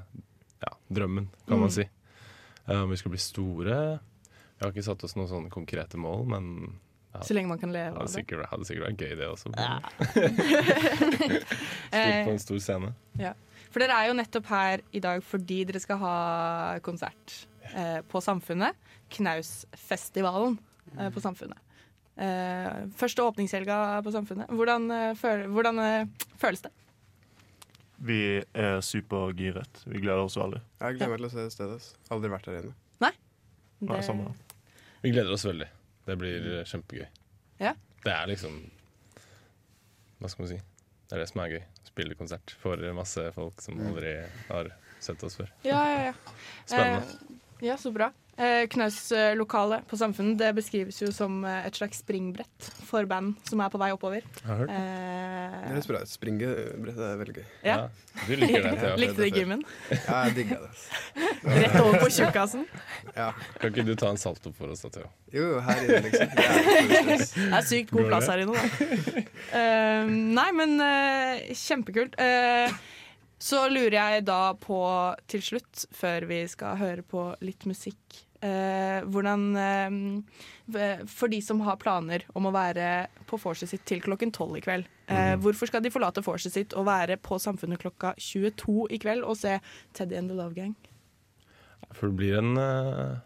S5: ja, drømmen, kan
S1: Mm.
S5: man si. Eh, Om vi skal bli store Vi har ikke satt oss noen sånne konkrete mål, men Ja.
S1: Så lenge man kan leve
S5: det hadde
S1: av det.
S5: sikkert, hadde sikkert vært gøy, det også.
S1: Eh,
S5: Stort på en stor scene.
S1: Ja. For dere er jo nettopp her i dag fordi dere skal ha konsert eh, på Samfunnet. Knausfestivalen eh, på Samfunnet. Eh, første åpningshelga på Samfunnet. Hvordan, eh, føl hvordan eh, føles det?
S7: Vi er supergiret. Vi gleder oss veldig.
S2: Jeg gleder meg til å se det stedet. ass. Aldri vært der inne.
S7: Nei,
S1: Det-
S7: samme her.
S5: Vi gleder oss veldig. Det blir eh, kjempegøy.
S1: Ja.
S5: Det er liksom Hva skal man si? Det er det som er gøy. Spille konsert for masse folk som aldri har sett oss før.
S1: Mm. Ja, ja, ja.
S5: Spennende.
S1: Eh, ja, så bra. Eh, Knauslokalet på Samfunnet det beskrives jo som eh, et slags springbrett for band som er på vei oppover.
S5: Jeg har hørt.
S2: Det
S1: Eh,
S2: høres bra ut. Springebrettet er veldig gøy.
S1: ja.
S5: Du liker det, Thea.
S1: Likte det i gymmen.
S2: Ja, jeg digger det. ass.
S1: Rett over på tjukkasen.
S2: Ja.
S5: Kan ikke du ta en salto for oss da, Theo?
S2: Jo, jo, her inne, liksom. Det er ikke stress.
S1: Det er sykt god plass her inne, da. Eh, nei, men eh, kjempekult. Eh, så lurer jeg da på, til slutt, før vi skal høre på litt musikk eh, hvordan eh, For de som har planer om å være på vorset sitt til klokken tolv i kveld, eh, hvorfor skal de forlate vorset sitt og være på Samfunnet klokka 22 i kveld og se Teddy and the Love Gang?
S5: For det blir en, eh,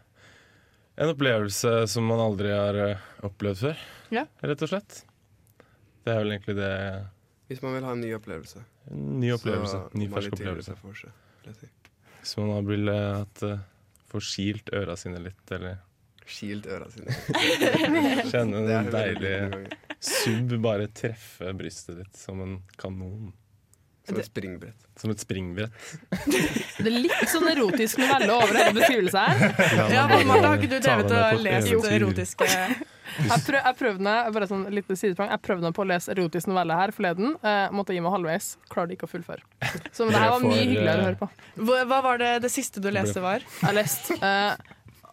S5: en opplevelse som man aldri har eh, opplevd før,
S1: Ja.
S5: rett og slett. Det er vel egentlig det
S2: Hvis man vil ha en ny opplevelse.
S5: En ny opplevelse.
S2: så
S5: ny
S2: må man
S5: fersk
S2: litt tidligere
S5: opplevelse.
S2: seg for seg, vil jeg si.
S5: Hvis man har ville hatt eh, få skilt øra sine litt, eller
S2: Skilt øra sine.
S5: kjenne
S2: Det er
S5: en
S2: det veldig mange
S5: deilig
S2: ganger.
S5: sub bare treffe brystet ditt som en kanon.
S2: Som et springbrett.
S5: Som et springbrett.
S3: Det er litt sånn erotisk novelle over hele beskrivelsen her.
S1: Ja, Martha, har ikke du
S5: Ta deg med
S1: drevet
S5: på
S1: og
S5: et
S1: lest
S5: eventyr.
S1: erotiske
S3: Jeg, prøv, jeg prøvde meg bare sånn litt sidesprang, jeg prøvde meg på å lese erotisk novelle her forleden. Eh, måtte gi meg halvveis. Klarte ikke å fullføre. Så men det her var mye
S5: Dere får,
S3: hyggeligere å
S5: eh,
S3: høre på.
S1: Hva hva var det det siste du leste var?
S3: Jeg leste eh,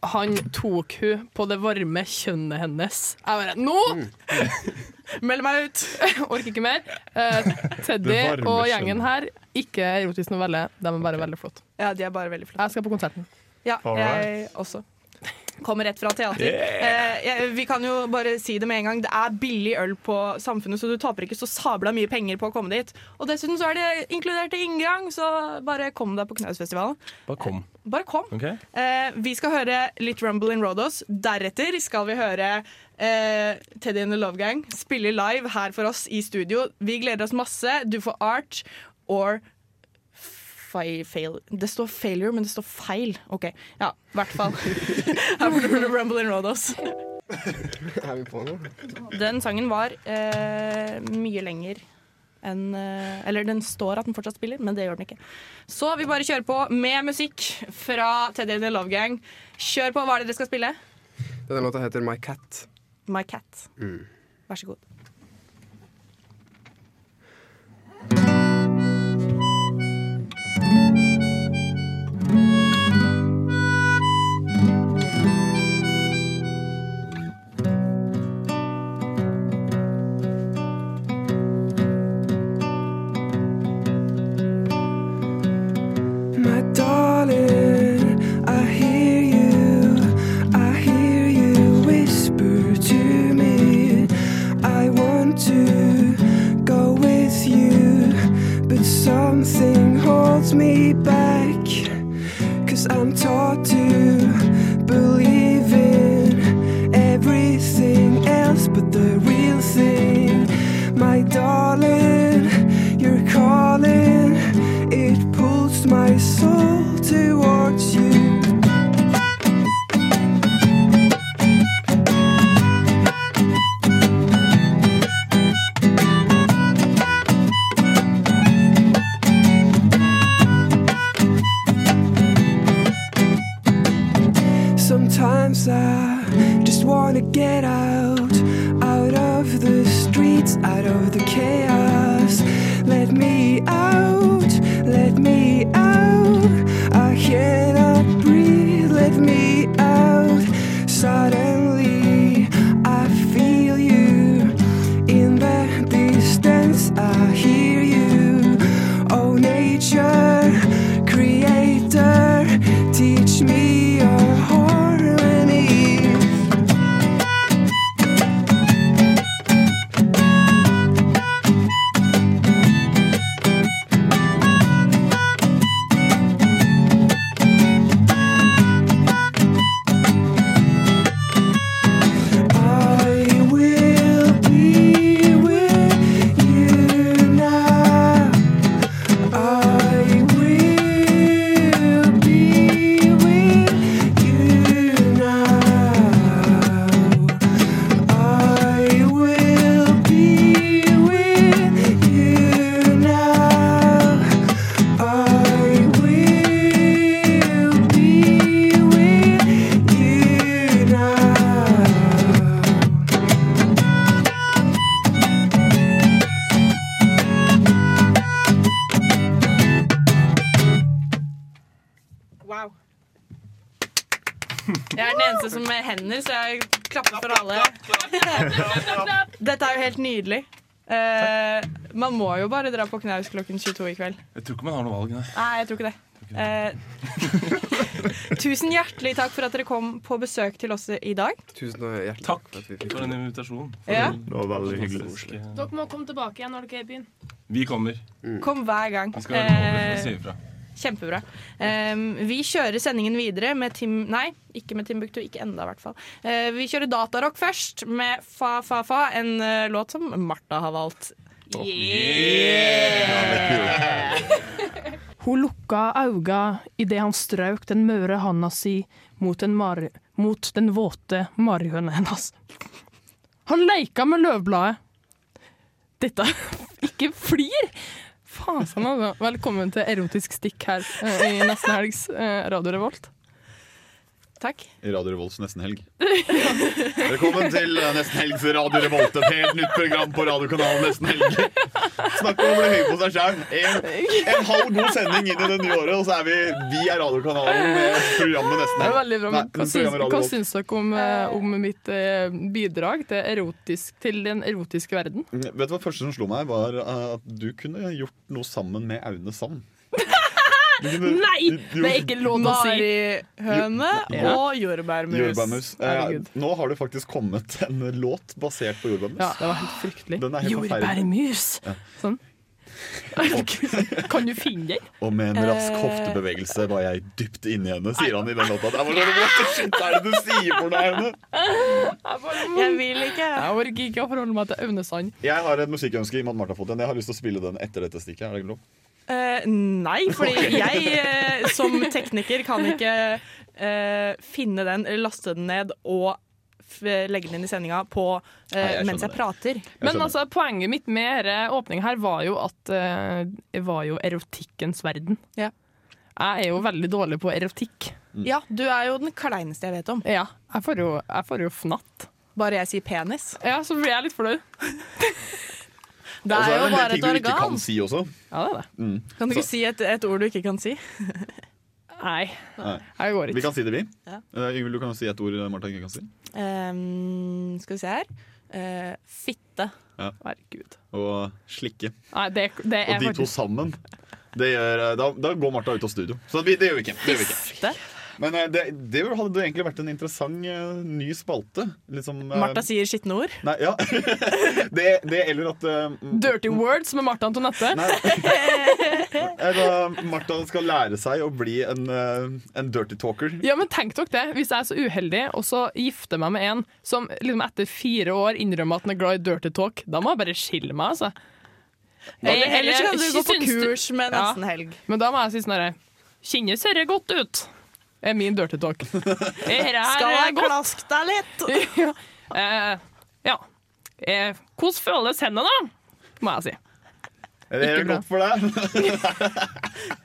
S3: Han tok hun på det varme kjønnet hennes. Jeg bare Nå!
S1: Mm. Meld meg ut!
S3: Orker ikke mer. Eh, Teddy
S5: Det varme
S3: og
S5: kjønnet.
S3: gjengen her, ikke erotisk novelle. De er bare veldig flott.
S1: Ja, de er bare veldig flotte.
S3: Jeg skal på konserten.
S1: Ja,
S7: Alright.
S1: jeg også. Kommer rett fra teater. Eh, jeg- vi kan jo bare si det med en gang. Det er billig øl på Samfunnet, så du taper ikke så sabla mye penger på å komme dit. Og dessuten så er det inkludert i inngang, så bare kom deg på Knausfestivalen.
S5: Bare kom.
S1: Bare kom.
S5: ok?
S1: Eh, vi skal høre litt Rumble in Rodos. Deretter skal vi høre eh, Teddy and the Love Gang spille live her for oss i studio. Vi gleder oss masse. Du får art or fi- fail. Det står failure, men det står feil. OK. Ja, i hvert fall. Her får du høre Rumble in Rodos.
S2: Er vi på nå?
S1: Den sangen var eh, mye lenger enn eh, Eller den står at den fortsatt spiller, men det gjør den ikke. Så vi bare kjører på med musikk fra Teddy and the Love Gang. Kjør på. Hva er det dere skal spille?
S2: Denne låta heter My Cat.
S1: My Cat. Vær så god.
S8: My darling, I hear you. I hear you whisper to me. I want to go with you, but something holds me back. Cause I'm taught to believe in everything else but the real thing. My darling, you're calling, it pulls my soul towards you. Sometimes I just wanna get out, out of the streets, out of the chaos. Let me out, let me out. I cannot breathe, let me out. Suddenly I feel you in the distance, I hear you. Oh, nature, creator, teach me your harmony. I will be with you now. I
S1: Wow. Jeg er den eneste som med hender, så jeg klapper for alle. Dette er jo helt nydelig. Eh, man må jo bare dra på knaus klokken 22 i kveld.
S5: Jeg tror ikke man har noe valg, nei.
S1: Nei, jeg tror ikke det. Eh, tusen hjertelig takk for at dere kom på besøk til oss i dag.
S2: Tusen hjertelig
S5: Takk for en invitasjon.
S1: Ja.
S5: Det var veldig hyggelig.
S3: Dere må komme tilbake igjen når dere er i byen.
S5: Vi kommer.
S1: Mm. Kom hver gang.
S5: Vi skal være over for å si
S1: Eh,
S5: ifra.
S1: Kjempebra. Ehm, vi kjører sendingen videre med Tim... Nei, ikke med Timbuktu. Ikke enda, i hvert fall. Eh, vi kjører datarock først med Fa Fa Fa, en eh, låt som Martha har valgt.
S3: Hun lukka auga idet han strøk den møre handa si mot den, mar mot den våte marihøna hennes. Han leika med løvbladet. Dette ikke flir! Faen sann, altså. Velkommen til erotisk stikk her eh, i nesten helgs eh, Radio Revolt.
S1: Takk.
S4: I Radio Revolts Nesten Helg. Velkommen til eh, Nesten Helgs Radio Revolt. Et helt nytt program på radiokanalen Nesten Helg. Snakk om å bli høy på seg sjøl. En, en halv god sending inn i det nye året, og så er vi Vi er radiokanalen med programmet Nesten
S3: Det er
S4: Helg.
S3: veldig bra.
S4: Nei,
S3: Men hva syns,
S4: programmet Radio
S3: hva
S4: Revolt.
S3: syns dere om, eh, om mitt eh, bidrag til, erotisk, til den erotiske verden?
S4: Mm, Vet du hva første som slo meg, var eh, at du kunne gjort noe sammen med Aune Sand. Du kunne-
S3: Nei!
S4: Jo,
S3: Det er ikke lov å si!
S1: Marihøne
S4: Ja.
S1: og jordbærmus.
S4: Jordbærmus. Eh,
S3: Herregud.
S4: Nå har det faktisk kommet en låt basert på jordbærmus.
S3: Ja, det var helt fryktelig.
S4: Den er helt forferdelig.
S3: Jordbærmus! Sånn. Herregud, kan du finne den?
S4: Og med
S1: Eh,
S4: en rask hoftebevegelse var jeg dypt inni henne, sier han i den låta. Jeg var sånn, What the shit er det du sier for deg, Aune?
S1: Jeg vil ikke.
S3: Jeg orker ikke å forholde meg til Aune Sand.
S4: Jeg har et musikkønske i og med at Martha har fått den. Jeg har lyst til å spille den etter dette stikket. Er det ikke lov?
S1: Eh, nei, fordi jeg eh, som tekniker kan ikke eh, finne den, laste den ned og f legge den inn i sendinga på, eh,
S4: Nei, jeg
S1: mens jeg
S4: skjønner det.
S1: prater.
S4: Jeg
S3: Men
S4: skjønner.
S3: altså, poenget mitt med denne åpningen her var jo at eh, det var jo erotikkens verden.
S1: Ja.
S3: Jeg er jo veldig dårlig på erotikk.
S4: Mm.
S1: Ja, du er jo den kleineste jeg vet om.
S3: Ja, jeg får jo, jeg får jo fnatt.
S1: Bare jeg sier penis.
S3: Ja, så blir jeg litt flau.
S1: Det
S4: Og så
S1: er
S4: er det
S1: jo
S4: en del
S1: bare
S4: ting
S1: et
S4: du ikke kan
S1: organ.
S4: si også. Mm.
S3: Ja, det er det.
S1: Kan du ikke si et, et ord du ikke kan si?
S3: Nei,
S4: Nei.
S3: jeg går
S4: Vi
S3: ikke.
S4: kan si det, vi.
S1: Ja.
S4: Eh, Yngvild, du kan jo si et ord Martha ikke kan si.
S1: Ehm, skal vi se her. Eh, fitte.
S3: Herregud.
S4: Og slikke.
S3: Nei, det, det
S4: Og
S3: er
S4: de to
S3: faktisk
S4: sammen. Det gjør, eh, da, da går Martha ut av studio. Så vi, det gjør vi ikke. Det gjør vi ikke.
S1: Fiste.
S4: Men eh, det, det hadde jo egentlig vært en interessant eh, ny spalte. Liksom, eh,
S1: Martha sier skitne ord.
S4: Nei, ja. det, det eller at eh,
S3: Dirty words med Martha Antonette.
S4: Nei. Eh, Da Martha skal lære seg å bli en, eh, en dirty talker.
S3: Ja, men tenk dere det, hvis jeg er så uheldig og så gifter meg med en som liksom etter fire år innrømmer at han er glad i dirty talk, da må jeg bare skille meg, altså.
S1: Eller, eller så kan du
S3: jeg
S1: gå på
S3: syns du-
S1: kurs med
S3: Ja.
S1: nesten helg.
S3: Men da må jeg si sånn herre Kjennes dette godt ut? Er min dirty talk. Er dette
S1: Skal
S3: her
S1: jeg
S3: godt?
S1: klaske deg litt?
S3: ja. Eh, ja. Eh, hvordan føles hendene, da? Må jeg si.
S4: Er det
S3: Ikke
S4: helt godt for deg?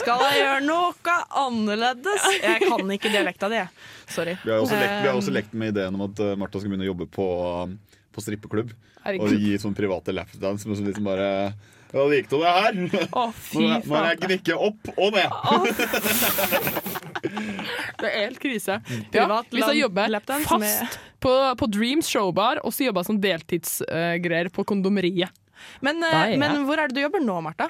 S1: Skal jeg gjøre noe annerledes? Jeg kan ikke dialekta di. jeg. Sorry.
S4: Vi har også
S3: Eh.
S4: lekt, vi har også lekt med ideen om at eh, Martha skal begynne å jobbe på, eh, på strippeklubb. Og
S3: Herregud.
S4: gi sånn private lapdance. Men så liksom bare Ja, det gikk til det her.
S3: Å,
S4: Må
S3: fy
S4: jeg, må jeg
S3: flate.
S4: gnikke opp og ned.
S3: Det er helt krise. Ja,
S1: Mm. Privat
S3: hvis jeg
S1: lap-
S3: jobber
S1: lapdance med-
S3: fast på, på Dreams showbar, og så jobber jeg som deltidsgreier på kondomeriet.
S1: Men, eh,
S3: Da er jeg.
S1: men hvor er det du jobber nå, Martha?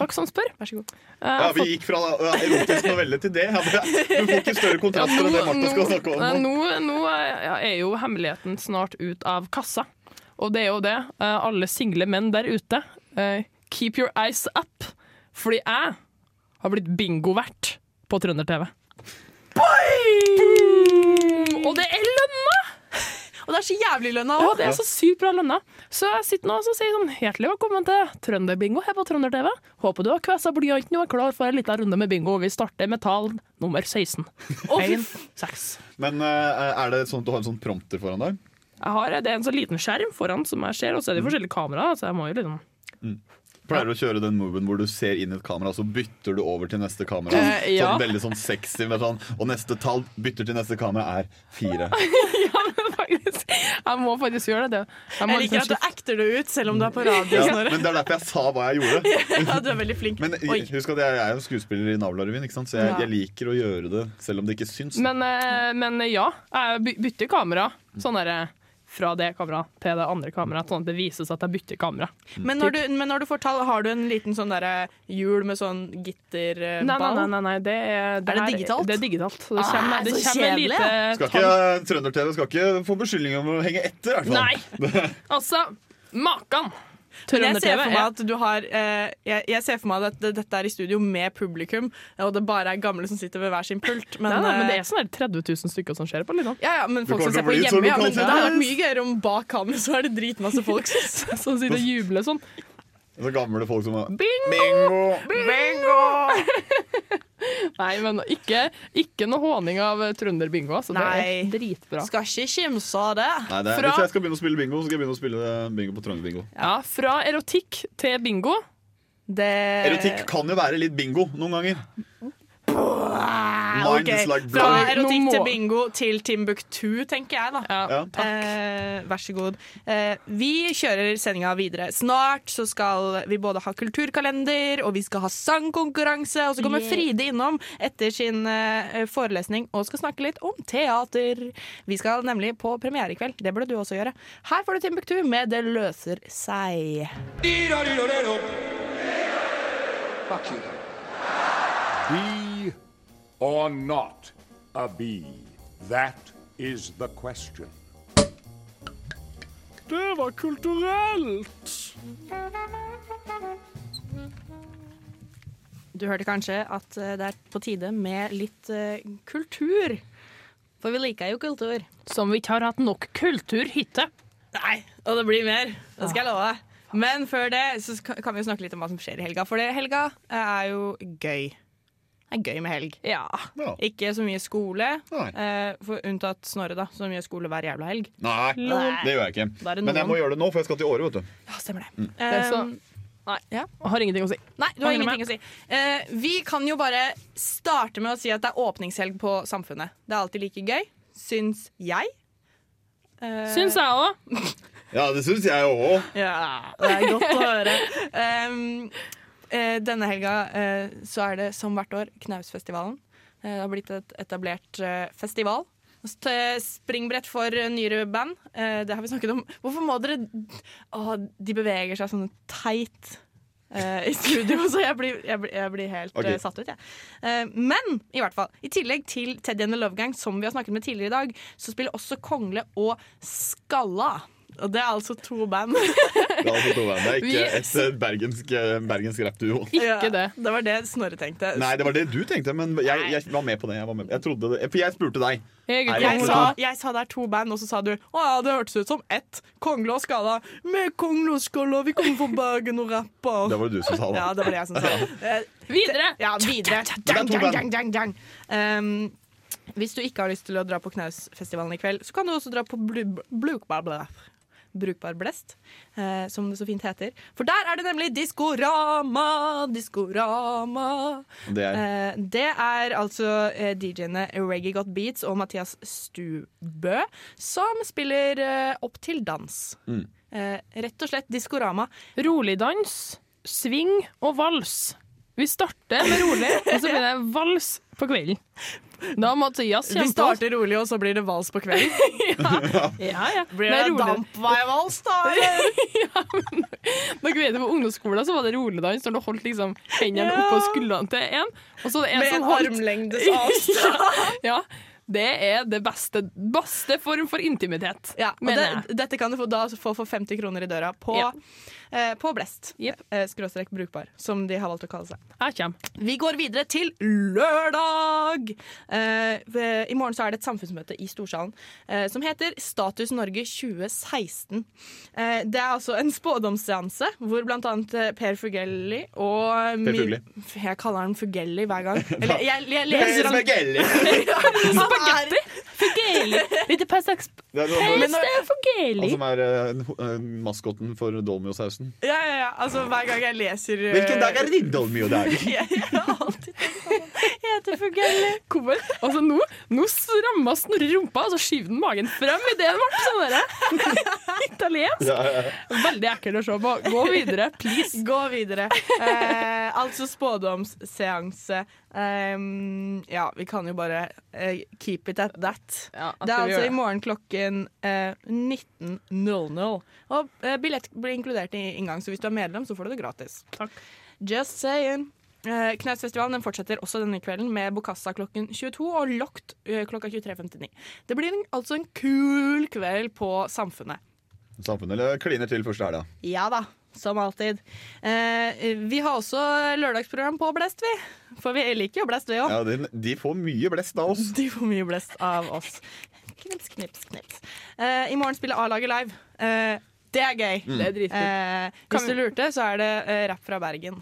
S3: Takk som spør.
S1: Vær så god.
S3: Eh,
S4: Ja, vi gikk fra eh, erotisk novelle til det. Ja, det- Du får ikke større kontraster enn det Martha skal snakke om.
S3: Nei,
S4: nå.
S3: Nå, nå er er jo hemmeligheten snart ut av kassa. Og det er jo det. eh, Alle single menn der ute, eh, keep your eyes up. Fordi jeg har blitt bingovert på Trønder-TV. Boom! Og det er lønna!
S1: Og det er så jævlig lønna
S3: Å,
S1: òg!
S3: det er så sykt bra lønna. Så jeg sitter nå og så sier sånn hjertelig velkommen til Trønder-bingo her på Trønder-TV. Håper du har kvessa blyanten og er klar for en liten runde med bingo. Vi starter med tall nummer 16. Én, seks.
S4: Men eh, er det sånn at du har en sånn prompter foran deg?
S3: Jeg har, det er en sånn liten skjerm foran som jeg ser, og så er det forskjellige kameraer. Så jeg må jo liksom
S4: Pleier du å kjøre den moven hvor du ser inn i et kamera, og så bytter du over til neste kamera?
S3: Eh, ja.
S4: Sånn veldig sånn sexy med sånn, Og neste tall bytter til neste kamera er fire.
S3: Ja, men faktisk. Jeg må faktisk gjøre det. Jeg, må
S1: Jeg liker at
S3: liksom
S1: du acter det ut selv om du er på radio.
S4: Ja,
S1: Snorre.
S4: men det er derfor jeg sa hva jeg gjorde.
S1: Ja, du er veldig flink.
S4: Men
S1: Oi.
S4: husk at jeg er jo skuespiller i Navlarevyen, ikke sant? så jeg,
S3: Ja.
S4: jeg liker å gjøre det selv om det ikke syns.
S3: Men, eh, men eh, ja, jeg by- bytter kamera. Sånn der, eh, fra det kameraet til det andre kameraet, sånn at det vises at jeg bytter kamera.
S1: Men når, du, men når du får tall, har du en liten sånn derre hjul med sånn gitterball?
S3: Nei, nei, nei, nei, nei Eh, det, er,
S1: Er det
S3: her-
S1: digitalt?
S3: Det er digitalt. Så det
S1: Ah,
S3: kommer, det
S1: så
S3: kommer
S1: kjedelig.
S3: lite
S4: Skal ikke Trønder-TV skal ikke få beskyldning om å henge etter, i hvert fall.
S3: Nei. Altså, makan!
S1: Men jeg ser for
S3: Trønder-TV.
S1: meg at du har eh, jeg, jeg ser for meg at det- dette er i studio med publikum, og det bare er gamle som sitter ved hver sin pult. Men,
S3: Nei, nei, men det
S1: eh,
S3: er sånn der 30 000 stykker som ser på. Liksom.
S1: ja, ja, men
S4: Det
S1: folk som
S4: kommer
S1: ser
S4: til å
S1: på
S4: bli sånn så
S1: hjemme, ja, men
S4: lokalt
S1: det hadde vært
S4: internt.
S1: mye gøyere om bak kameraet så er det dritmasse folk.
S3: Som sitter og jubler sånn.
S4: Så gamle folk som er
S3: Bing!
S4: Bingo!
S3: Nei, men ikke, ikke noe håning av eh, trønder-bingo. Altså. Det
S1: Nei.
S3: er dritbra.
S1: Skal ikke kimse av det.
S4: Nei, det er,
S3: Fra-
S4: Hvis jeg skal begynne å spille bingo, så skal jeg begynne å spille bingo på Trønder-bingo.
S3: Ja, fra erotikk til bingo. Eh.
S1: Det-
S4: Erotikk kan jo være litt bingo noen ganger.
S1: Ok,
S4: Mind is like
S1: Fra
S4: blood.
S1: erotikk
S3: Nå må-
S1: til bingo til Timbuktu, tenker jeg, da.
S4: Ja.
S1: Eh, vær så god. Eh, vi kjører sendinga videre. Snart så skal vi både ha kulturkalender, og vi skal ha sangkonkurranse. Og så kommer Fride innom etter sin eh, forelesning og skal snakke litt om teater. Vi skal nemlig på premiere i kveld. Det burde du også gjøre. Her får du Timbuktu med Det løser seg.
S9: Fuck you. Be or not a bee? That is the question.
S6: Det var kulturelt!
S1: Du hørte kanskje at eh, det er på tide med litt eh, kultur. For vi liker jo kultur.
S3: Som vi ikke har hatt nok kultur hittil.
S1: Nei, og det blir mer. Det skal jeg love deg. Men før det så sk- kan vi jo snakke litt om hva som skjer i helga. For det, helga eh, er jo gøy. Det er gøy med helg. Ja.
S4: Ja.
S1: Ikke så mye skole,
S4: Nei.
S1: eh, for unntatt Snorre, da, som gjør skole hver jævla helg.
S4: Nei, det gjør jeg ikke.
S1: Da er det
S4: Men jeg
S1: noen.
S4: må gjøre det nå, for jeg skal til Åre, vet du. Mm.
S1: Ja, stemmer det.
S3: er så-
S1: Um,
S3: Nei.
S1: Ja.
S3: Jeg har ingenting å si.
S1: Nei, du har
S3: Angrer meg.
S1: ingenting å si. Eh, vi kan jo bare starte med å si at det er åpningshelg på Samfunnet. Det er alltid like gøy, syns jeg. Eh,
S3: Syns jeg òg.
S4: Ja, det syns jeg òg.
S1: Ja, det er godt å høre. Ehm, eh, denne helga eh, så er det som hvert år Knausfestivalen. Eh, det har blitt et etablert eh, festival. St- eh, Springbrett for eh, nyere band. Eh, det har vi snakket om. Hvorfor må dere Å, de beveger seg sånn teit. eh, I studio, så jeg blir, jeg blir, jeg blir helt
S4: Ok.
S1: eh, satt ut, jeg. Eh, men i hvert fall, i tillegg til Teddy and the Love Gang, som vi har snakket med tidligere i dag, så spiller også Kongle og Skalla. Og det er altså to band.
S4: Det er altså to band. Det er ikke
S3: Vi-
S4: et eh, bergensk, eh, bergensk rappduo.
S3: Ikke det.
S1: Det var det Snorre tenkte.
S4: Nei, det var det du tenkte, men jeg, jeg var med på det. Jeg var med. Jeg trodde det. For jeg spurte deg.
S3: Jeg
S4: Nei,
S3: er
S1: Jeg
S4: Kongle.
S1: sa, jeg sa det er to band, og så sa du å ja, det hørtes ut som ett. Kongle og Skala. Med Kongle og Skala, vi kommer fra Bergen og
S4: Det
S1: rapper.
S4: var det du som sa det.
S1: Ja, det var det jeg som sa. Eh,
S3: Videre!
S1: Ja, videre.
S4: er
S1: Dang,
S4: to
S1: dang, dang,
S4: band.
S1: dang, dang. Um, hvis du ikke har lyst til å dra på Knausfestivalen i kveld, så kan du også dra på Blu- Brukbar Blæ- Brukbar Blest, eh, som det så fint heter. For der er det nemlig Diskorama! Diskorama!
S4: Det er-
S1: Eh, det er altså eh, DJ-ene Reggae Got Beats og Mathias Stubø som spiller eh, opp til dans.
S4: Mm.
S1: Eh, rett og slett Diskorama.
S3: Roligdans, sving og vals. Vi starter med rolig, og så blir det vals på kvelden. Da må Mathias
S1: Vi
S3: kjempe oss.
S1: starter rolig, og så blir det vals på kvelden.
S3: Ja, ja.
S1: Blir
S3: Nei,
S1: det
S3: rolig-
S1: dampveivals, da? eller?
S3: Dere vet jo På ungdomsskolen så var det roligdans når du holdt liksom hendene
S1: Ja.
S3: oppå skuldrene til en. Og så var det en
S1: Med en
S3: som holdt
S1: armlengdes avstand.
S3: Ja, det er det beste, beste form for intimitet,
S1: Ja, og
S3: mener jeg.
S1: det, dette kan du få, da få for 50 kroner i døra på,
S3: Ja.
S1: eh, på Blest.
S3: Jepp.
S1: Eh, skråstrek brukbar, som de har valgt å kalle seg.
S3: Jeg kommer.
S1: Vi går videre til lørdag! Eh, ved- I morgen så er det et samfunnsmøte i Storsalen eh, som heter Status Norge 2016. Eh, det er altså en spådomsseanse hvor blant annet eh, Per Fugelli og
S4: Per
S1: min-
S4: Fugelli.
S1: Jeg kaller han Fugelli hver gang. Eller jeg, jeg
S4: Det er
S1: leser sånn- han
S4: spaghetti.
S3: Spagetti! Fugeli! Litt pastaks...
S4: Det er sånn-
S3: Helst er
S4: Han
S3: fugeli!
S4: som er eh, ho- eh, maskotten for dolmiosausen.
S1: Ja, ja, ja. Altså, hver gang jeg leser eh,
S4: Hvilken dag er din dolmiodag?
S1: Jeg, jeg har alltid tenkt på det. heter fugleelle.
S3: Kommer. Altså, nå, nå stramma Snorre rumpa, og så skyver den magen frem i det den ble sånn derre. Italiensk.
S1: Ja, ja, ja.
S3: Veldig ekkelt å se på. Gå videre, please.
S1: Gå videre. Eh, altså spådomsseanse. Ehm, ja, vi kan jo bare eh, keep it at that.
S3: at vi
S1: det er
S3: gjør
S1: altså i
S3: det.
S1: morgen klokken eh, 19.00. Og eh, billett blir inkludert i inngang, så hvis du er medlem, så får du det gratis. Just saying. Eh, Knausfestivalen den fortsetter også denne kvelden med Bokassa klokken 22 og Lokt eh, klokka 23.59. Det blir en, altså en kul kveld på Samfunnet.
S4: Samfunnet eller kliner til første helga.
S1: Ja da, som alltid. Eh, vi har også lørdagsprogram på Blest, vi. For vi liker jo Blest, vi òg.
S4: Ja, de, de får mye blest av oss.
S1: De får mye blest av oss. Knips, knips, knips. Eh, I morgen spiller A-laget live. Eh, det er gøy.
S4: Mm. Det er dritkult.
S1: Eh, hvis du lurte, så er det eh, rapp fra Bergen.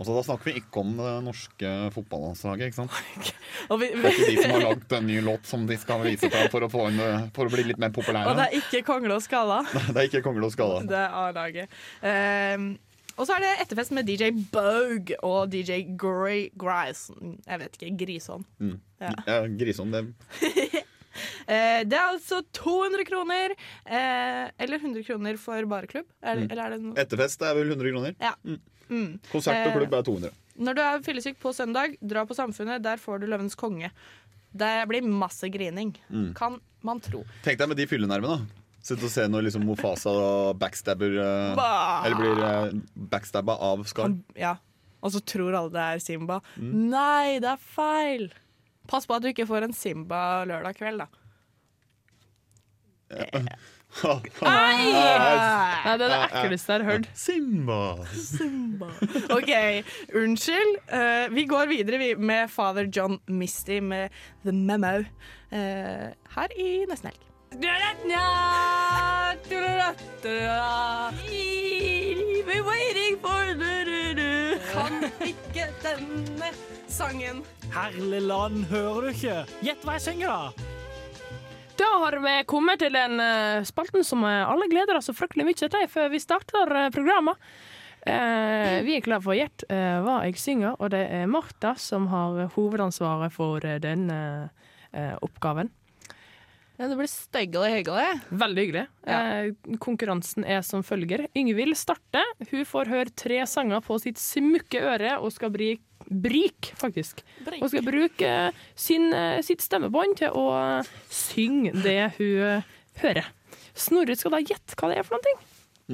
S4: Altså, da snakker vi ikke om det norske fotballandslaget, ikke sant?
S1: Og, vi,
S4: Det er ikke de som har lagd en ny låt som de skal vise til for å, få en, eh, for å bli litt mer
S1: og
S4: populære.
S1: det er ikke Kongle og Skalla.
S4: Nei, det er ikke Kongle og Skala.
S1: Det er A-laget. Ehm, og så er det etterfest med DJ Bogue og DJ Gory Grison. Jeg vet ikke. Grison.
S4: Mm.
S1: Ja.
S4: Ja, Grison, det
S1: Eh, det er altså 200 kroner, eh, eller 100 kroner for bareklubb. Er,
S4: Mm.
S1: Eller er det noe?
S4: Etterfest er vel 100 kroner.
S1: Ja.
S4: Mm.
S1: Mm.
S4: Konsert og
S1: Eh,
S4: klubb er 200.
S1: Når du er fyllesyk på søndag, dra på Samfunnet. Der får du Løvens konge. Det blir masse grining,
S4: Mm.
S1: kan man tro.
S4: Tenk deg med de fyllenervene, da. Sitte og se når liksom Mofasa backstabber eh,
S1: Bah!
S4: Eller blir eh, backstabba av Skar.
S1: Ja. Og så tror alle det er Simba.
S4: Mm.
S1: Nei, det er feil! Pass på at du ikke får en Simba lørdag kveld, da.
S3: Nei!
S1: Nei.
S3: Nei, det er det ekleste jeg har hørt.
S4: Simba.
S1: OK, unnskyld. Eh, vi går videre vi, med Father John Misty med The Memo eh, her i nesten helg. Kan ikke denne sangen.
S6: Herlig land, hører du ikke? Gjett hva jeg synger, da!
S3: Da har vi kommet til den eh, spalten som eh, alle gleder oss så fryktelig mye til før vi starter eh, programmet. Eh, vi er klar for å gjette eh, hva jeg synger, og det er Martha som har eh, hovedansvaret for eh, den eh, eh, oppgaven.
S1: Ja, det blir styggelig hyggelig.
S3: Veldig hyggelig. Eh, konkurransen er som følger. Yngvild starter. Hun får høre tre sanger på sitt smukke øre og skal bli brik, faktisk.
S1: Brik.
S3: Og skal bruke eh, sin, eh, sitt stemmebånd til å eh, synge det hun eh, hører. Snorre skal da gjette hva det er for noe.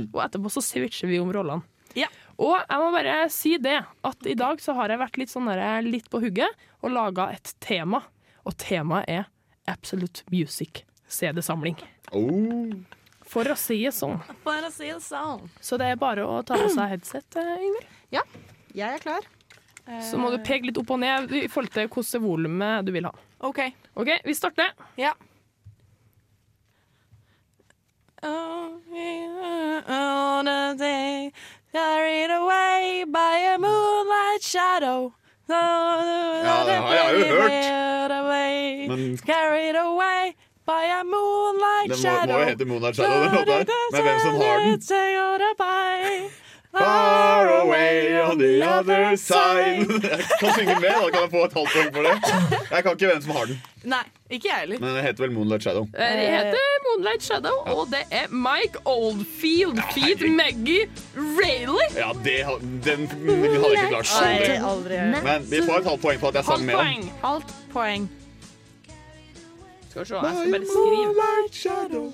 S3: Og etterpå så switcher vi om rollene. Og jeg må bare si det, at i dag så har jeg vært litt, sånn der, litt på hugget og laga et tema. Og temaet er Absolute Music CD-samling. For å si det sånn.
S1: For å si det sånn.
S3: Så det er bare å ta på seg headset, eh, Ingvild.
S1: Ja, jeg er klar. Eh,
S3: Så må du peke litt opp og ned i forhold til hvilket volum du vil ha.
S1: OK.
S3: OK, vi starter.
S1: Ja. On a day carried away by a moonlight shadow. Ja,
S8: det har jeg jo
S1: hørt.
S4: Men-
S1: Carried away by a moonlight
S4: Det må,
S1: shadow.
S4: må jo hete Moonlight Shadow, den låta her. Men hvem som har den?
S1: Say goodbye.
S4: Far away on the other side. Jeg kan synge med, da kan jeg få et halvt poeng for det. Jeg kan ikke hvem som har den,
S1: Nei, ikke jeg heller.
S4: men den heter vel Moonlight Shadow.
S3: Eh, Det
S1: Eh,
S3: heter Moonlight Shadow, og det er Mike Oldfield feed Maggie Rayleigh.
S4: Ja, det, ha- den hadde jeg ikke klart.
S1: Nei, aldri.
S4: Men vi får et halvt poeng for at jeg sang med den.
S1: Halvt poeng.
S3: Skal vi se, jeg skal bare skrive.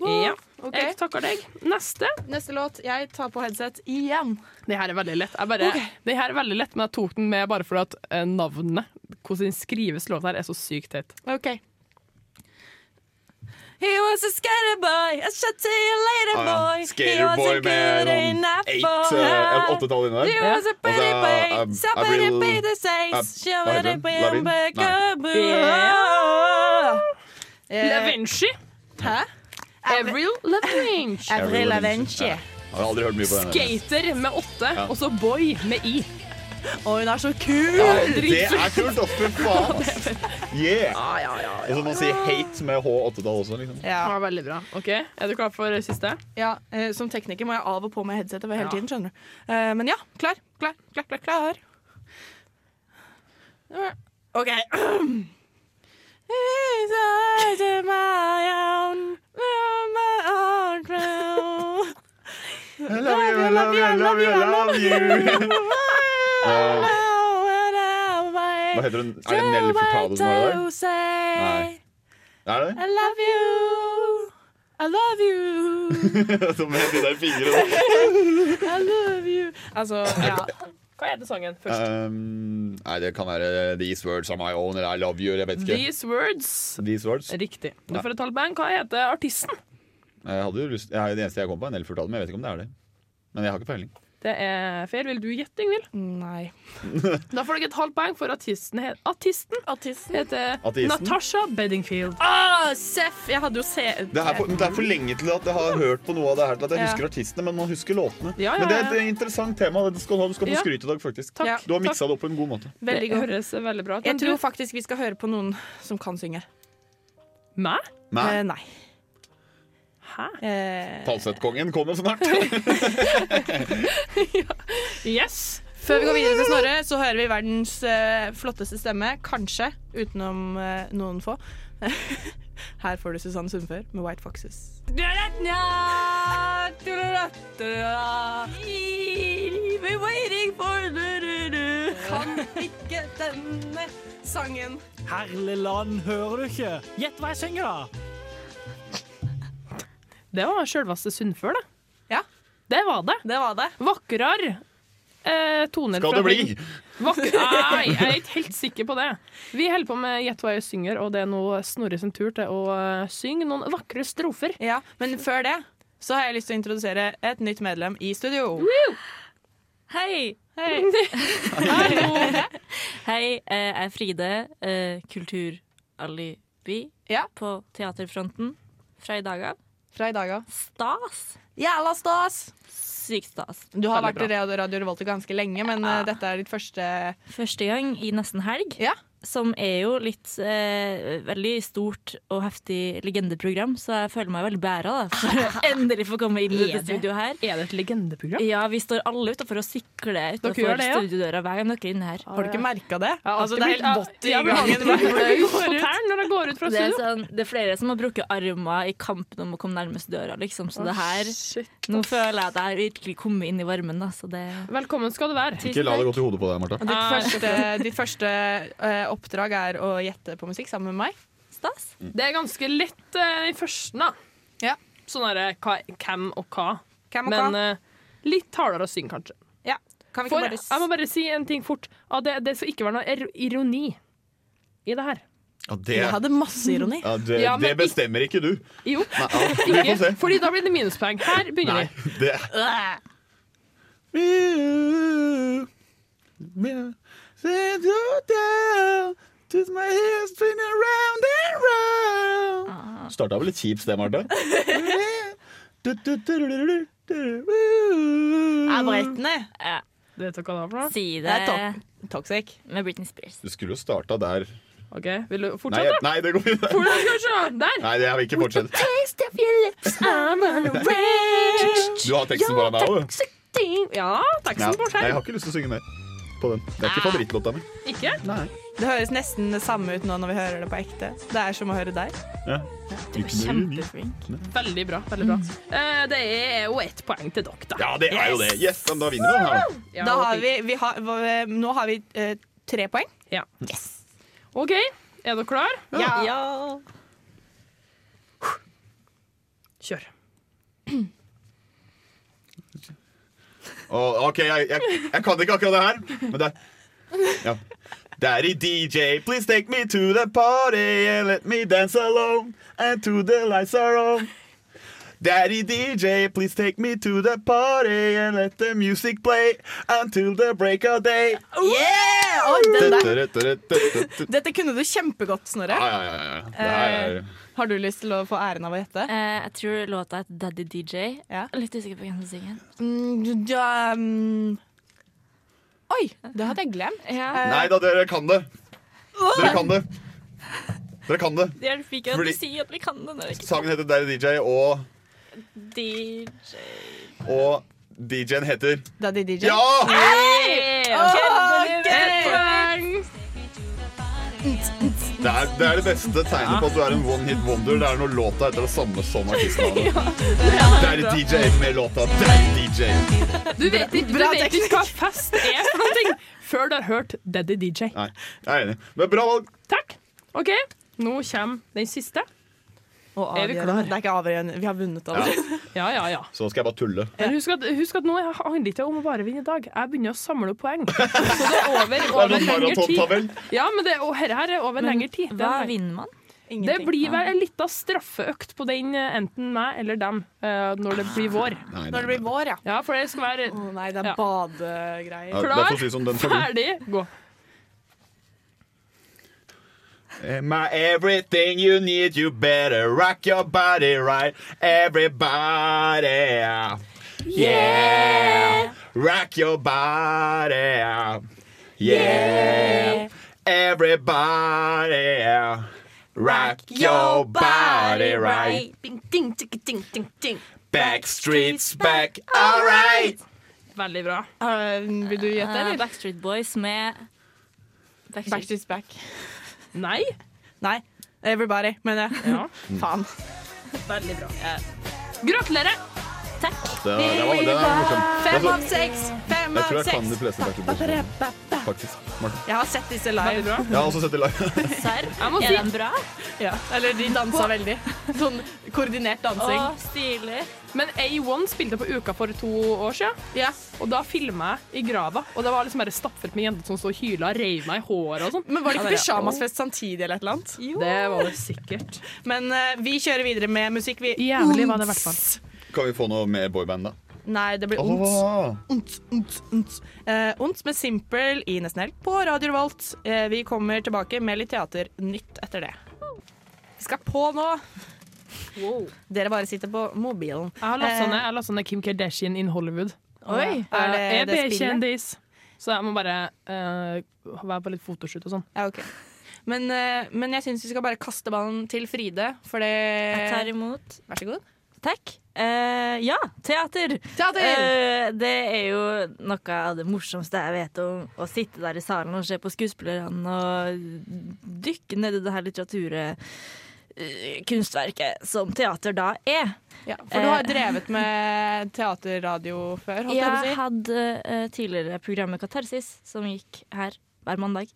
S3: Ja,
S1: Ok.
S3: jeg takker deg. Neste.
S1: Neste låt. Jeg tar på headset igjen.
S3: Det her er veldig lett. Jeg bare,
S1: Ok.
S3: Det her er veldig lett, men jeg tok den med bare fordi at eh, navnet, hvordan den skrives låta her, er så sykt teit.
S1: OK. He was a skater boy, a shatty later
S4: Ah, ja.
S1: boy. He wasn't
S4: Skaterboy
S1: good
S4: med sånn
S1: enough
S4: eight,
S1: for
S4: eh,
S1: her.
S4: åttetall inni der.
S1: He was a pretty
S4: Og så,
S1: boy,
S4: eh, Ab-
S1: somebody
S4: Avril-
S1: beat the sex,
S4: Ab-
S1: she
S4: hva
S1: wanted
S4: heter
S1: to be
S4: hun?
S1: a
S4: Lavin?
S1: big
S4: Nei.
S1: boo.
S3: Ah! La
S1: Eh,
S3: Vinci.
S1: Hæ?
S3: Avril Lavinci.
S1: Avril Lavinci.
S4: Ja. Jeg har aldri hørt mye på den. der.
S3: Skater med åtte,
S4: Ja.
S3: og så boy med i.
S1: Og hun er så kul!
S4: Ja, det er kult, da. Fy faen. ass. Yeah. Og så må man si hate med H8-tall også, liksom.
S1: Ja.
S3: Ja, veldig bra. Ok, Er du klar for siste?
S1: Ja, eh, Som tekniker må jeg av og på med headsetet for hele tiden. skjønner du Eh, Men ja, klar, klar, klar, klar, klar. OK. Inside my own- my own crown.
S8: love you, I love you, I love you.
S4: Eh,
S1: Hva
S4: heter hun? Er det Nelly Furtado som er der? Nei. Er det?
S1: I love you. I love you.
S4: Som med de der fingrene.
S3: I love you. Altså, ja. Hva heter sangen
S4: Eh,
S3: først?
S4: Um, nei, det kan være These words are my own eller I love you. eller Jeg vet ikke.
S3: These words.
S4: These words?
S3: Riktig. Du
S4: Ja.
S3: får et halvt poeng. Hva heter artisten?
S4: Jeg hadde jo lyst, jeg, det eneste jeg kom på, er Nelly Furtado, men jeg vet ikke om det er det. Men jeg har ikke peiling.
S3: Det er fair. Vil du gjette, Ingvild?
S1: Nei.
S3: Da får dere et halvt poeng for artisten. he- Artisten, heter
S4: Ateisten?
S3: Natasha Bedingfield.
S1: Ah, Seff! Jeg hadde jo se...
S4: Det er, for, det er for lenge til at jeg har hørt på noe av det her til at jeg
S1: Ja.
S4: husker artistene, men man husker låtene.
S3: Ja, ja,
S4: Men det er
S3: ja.
S4: et interessant tema. Det skal du, ha. du skal få
S1: Ja.
S4: skryt i dag, faktisk.
S1: Takk. Ja.
S4: Du har
S1: Takk.
S4: miksa det opp på en god måte.
S1: Veldig
S3: Det
S1: godt.
S3: høres veldig bra ut.
S1: Jeg
S3: Men
S1: tror
S3: du-
S1: faktisk vi skal høre på noen som kan synge.
S3: Meg?
S1: Eh,
S4: Men
S1: nei.
S3: Hæ?
S1: Eh,
S4: falsettkongen kommer snart.
S3: Yes!
S1: Før vi går videre til Snorre, så hører vi verdens eh, flotteste stemme. Kanskje, utenom eh, noen få. Her får du Susanne Sundfør med White Foxes. We're waiting for Kan ikke denne sangen.
S6: Herlig land, hører du ikke? Gjett hva jeg synger, da!
S3: Det var sjølveste Sundfør, det.
S1: Ja.
S3: Det var det.
S1: Det var det.
S3: Vakrar eh, toner
S4: Skal
S3: fra
S4: det bli?
S3: Vakker... Nei, jeg er ikke helt sikker på det. Vi holder på med Gjett hva jeg synger, og det er nå Snorre sin tur til å eh, synge noen vakre strofer.
S1: Ja, men før det så har jeg lyst til å introdusere et nytt medlem i studio.
S10: Hei!
S1: Hei.
S10: Hei, eh, jeg er Fride, eh, kulturalibi på teaterfronten fra i dag av.
S1: Fra i dag av.
S10: Stas!
S1: Jævla stas!
S10: Sykt stas.
S1: Du har
S10: Veldig
S1: vært i
S10: bra.
S1: Radio Radio Revolt ganske lenge, men eh, dette er ditt første
S10: Første gang i nesten helg, som er jo litt eh, veldig stort og heftig legendeprogram, så jeg føler meg veldig bæra da, for å endelig få komme inn i
S3: Er
S10: dette
S3: det-
S10: studioet her.
S3: Er det et legendeprogram?
S10: Ja, vi står alle utafor og sikler
S3: gjør
S10: utafor
S3: det, ja?
S10: studiodøra hver gang dere er inne her.
S1: Har du ikke merka det? Altså, det er
S10: alltid blitt-
S1: helt vått i
S10: Ja, vi har
S1: gangen
S10: alltid
S1: hver
S10: blitt
S1: gang vi
S10: blaut
S1: går ut.
S10: på tærne
S3: når de går ut fra
S10: det er,
S3: studio.
S10: sånn, det er flere som har brukket armer i kampen om å komme nærmest døra, liksom. Så
S3: Å,
S10: det her Nå føler jeg at jeg har virkelig kommet inn i varmen, da. Så det
S3: Velkommen skal du være.
S4: Ikke la det gå til hodet på deg,
S1: Og ditt
S4: Martha.
S1: første, ditt første eh, oppdrag er å gjette på musikk sammen med meg.
S10: Stas.
S3: Mm. Det er ganske lett eh, i førsten, da. Sånn derre hva- hvem og hva.
S1: Hvem og
S3: Men
S1: hva?
S3: eh, litt hardere å synge, kanskje.
S1: Kan vi
S3: For
S1: ikke bare
S3: jeg må bare si en ting fort. Ah, det, det skal ikke være noe er- ironi i det her.
S4: Ja, det,
S1: Jeg hadde masse ironi.
S4: ja, det,
S3: Ja, men
S4: det bestemmer ikke du.
S3: Jo.
S4: Nei, ja, vi får
S3: Ikke,
S4: se.
S3: fordi da blir det minuspoeng. Her begynner
S4: Nei,
S3: vi.
S4: det
S1: Ah.
S4: Starta vel litt kjipt, det, Martha.
S1: Er Britney?
S3: Vet dere hva det var for noe?
S10: Si
S1: Det er to toxic.
S10: Med Britney Spears.
S4: Du skulle jo starta der.
S3: OK, vil du
S4: Nei,
S3: fortsette?
S4: nei, det går ikke.
S3: Hvordan skal vi se? Der!
S4: Nei, jeg vil ikke fortsette.
S3: Taste of your lips, I'm on a range.
S4: Du har teksten foran deg òg.
S3: Ja, teksten på
S4: jeg har
S3: skjerm.
S4: ikke lyst til å synge mer på den. Det er
S1: Ah.
S4: ikke favorittlåta mi.
S3: Ikke?
S4: Nei.
S1: Det høres nesten det samme ut nå når vi hører det på ekte. Det er som å høre deg.
S4: Ja.
S10: Du er kjempeflink.
S3: Veldig bra. veldig bra
S1: Mm.
S3: Eh, Det er jo ett poeng til dere, da.
S4: Ja, det er jo det. Yes, men da vinner vi den her, da.
S3: Ja,
S1: Da har
S3: og-
S1: vi, vi har, hva- nå har vi eh, tre poeng.
S3: Ja. OK, er dere klar?
S1: Ja.
S3: Kjør.
S4: Å, OK, jeg, jeg, jeg kan ikke akkurat det her, men det er- ja. Daddy DJ, please take me to the party and let me dance alone and to the lights are on. Daddy DJ, please take me to the party and let the music play until the break of day.
S1: Yeah! Oi, den der.
S4: Ja,
S1: Dette kunne du kjempegodt, Snorre.
S4: ja, ja, ja. Det her er-
S1: Eh, Har du lyst til å få æren av å gjette?
S10: Eh, jeg tror låta heter Daddy DJ. Litt usikker på hvem som synger.
S1: Mm, ja, mm. Oi, det hadde jeg glemt. Eh,
S10: Ja.
S4: Nei da, dere kan det. Dere kan det. Dere kan det.
S10: Det hjelper ikke at du
S4: Fordi-
S10: sier at vi kan det når vi ikke
S4: Sangen heter Daddy DJ, og,
S10: DJ.
S4: og DJ-en heter
S1: Daddy DJ.
S4: Ja!
S1: Hey!
S3: Kjempe-
S1: Ok.
S3: Ett poeng.
S4: Det er, det er det beste tegnet på at du er en one hit wonder. Det er når låta heter det samme som artistnavnet. Der er DJ med låta. Der er DJ.
S3: Du vet ikke, du
S4: Bra
S3: vet ikke hva fest er for noen ting før du har hørt Daddy DJ.
S4: Nei, jeg er enig. Men bra valg.
S3: Takk. OK, nå kommer den siste.
S1: Og
S3: Er vi
S1: avgjørende.
S3: klar?
S1: Det er ikke avgjørende. Vi har vunnet allerede.
S3: Ja, ja, ja.
S4: Så skal jeg bare tulle.
S3: Men husk at, husk at nå handler det ikke om å bare vinne i dag. Jeg begynner å samle poeng. Så det er over,
S4: er
S3: over
S4: noen
S3: lengre tid.
S4: maratontabell.
S3: Ja, men det, og her, her er over
S10: Men
S3: lengre tid.
S10: hva vinner man?
S3: Det blir vel en lita straffeøkt på den, eh, enten meg eller dem, eh, når det blir vår.
S4: Nei, nei,
S1: Det blir vår, ja.
S3: Ja, for det skal være
S1: Nei, det er
S3: Ja.
S1: badegreier.
S4: Ja, derfor sier sånn, den tar vi.
S3: ferdig, gå.
S4: Am I everything you need? You better rock your body right, everybody. Yeah! Rock your body. Yeah! Everybody. Rock your body right.
S1: Ding, ding, ding, ding, ding, ding.
S4: Backstreets back, alright!
S3: Veldig bra.
S1: vil du gjette,
S10: Eh,
S1: eller?
S10: Backstreet Boys med
S1: Backstreet's back.
S3: Nei.
S1: Nei. Everybody, mener jeg.
S3: Ja.
S1: Faen.
S3: Veldig bra. Eh, Gratulerer!
S4: Det, det var, den er morsom. Jeg
S1: Fem
S4: tror-
S1: av seks! Fem
S4: jeg
S1: av
S4: tror jeg kan de
S1: seks!
S4: fleste Backstreet Boys. Faktisk. Martin.
S1: Jeg har sett disse
S3: Veldig bra.
S1: live.
S4: Jeg har også sett det live.
S10: Serr?
S3: Jeg må
S10: Er
S3: si-
S10: den bra?
S1: Ja. Eller de dansa veldig. Sånn koordinert dansing.
S10: Å, stilig.
S3: Men A1 spilte på Uka for to år siden,
S1: Ja.
S3: og da filma jeg i grava. Og det var liksom bare stappfullt med jenter som så og hyla og reiv meg i håret og sånn.
S1: Men var det
S3: Ja,
S1: ikke
S3: det er-
S1: pysjamasfest samtidig eller et eller annet?
S3: Det var det sikkert.
S1: Men eh, vi kjører videre med musikk, vi.
S3: Jævlig var det i hvert
S1: Unts.
S4: Kan vi få noe med boyband, da?
S1: Nei, det blir ondt.
S4: Åh.
S1: Ondt, ondt, ondt. Eh, ondt med Simple i Nesten Helg på Radio Revolt. Eh, vi kommer tilbake med litt teaternytt etter det. Vi skal på nå. Dere bare sitter på mobilen.
S3: Jeg har lasta
S1: Eh,
S3: ned, jeg har lastet ned Kim Kardashian in Hollywood. Eh,
S1: Oi, er det
S3: jeg
S1: det
S3: blir
S1: spillet?
S3: kjendis, så jeg må bare eh, være på litt fotoshoot og sånn.
S1: Ja, ok. Men, eh, men jeg syns vi skal bare kaste ballen til Fride, for det
S10: Jeg tar imot.
S1: Vær så god.
S10: Takk. Eh, ja, teater.
S1: Teater!
S10: Eh, det er jo noe av det morsomste jeg vet om å sitte der i salen og se på skuespillerne og dykke ned i det her litteraturet. eh, Kunstverket som teater da er.
S1: Ja, for du har
S10: Eh,
S1: drevet med teaterradio før, holdt jeg på å si.
S10: Jeg hadde eh, tidligere programmet Katarsis, som gikk her hver mandag.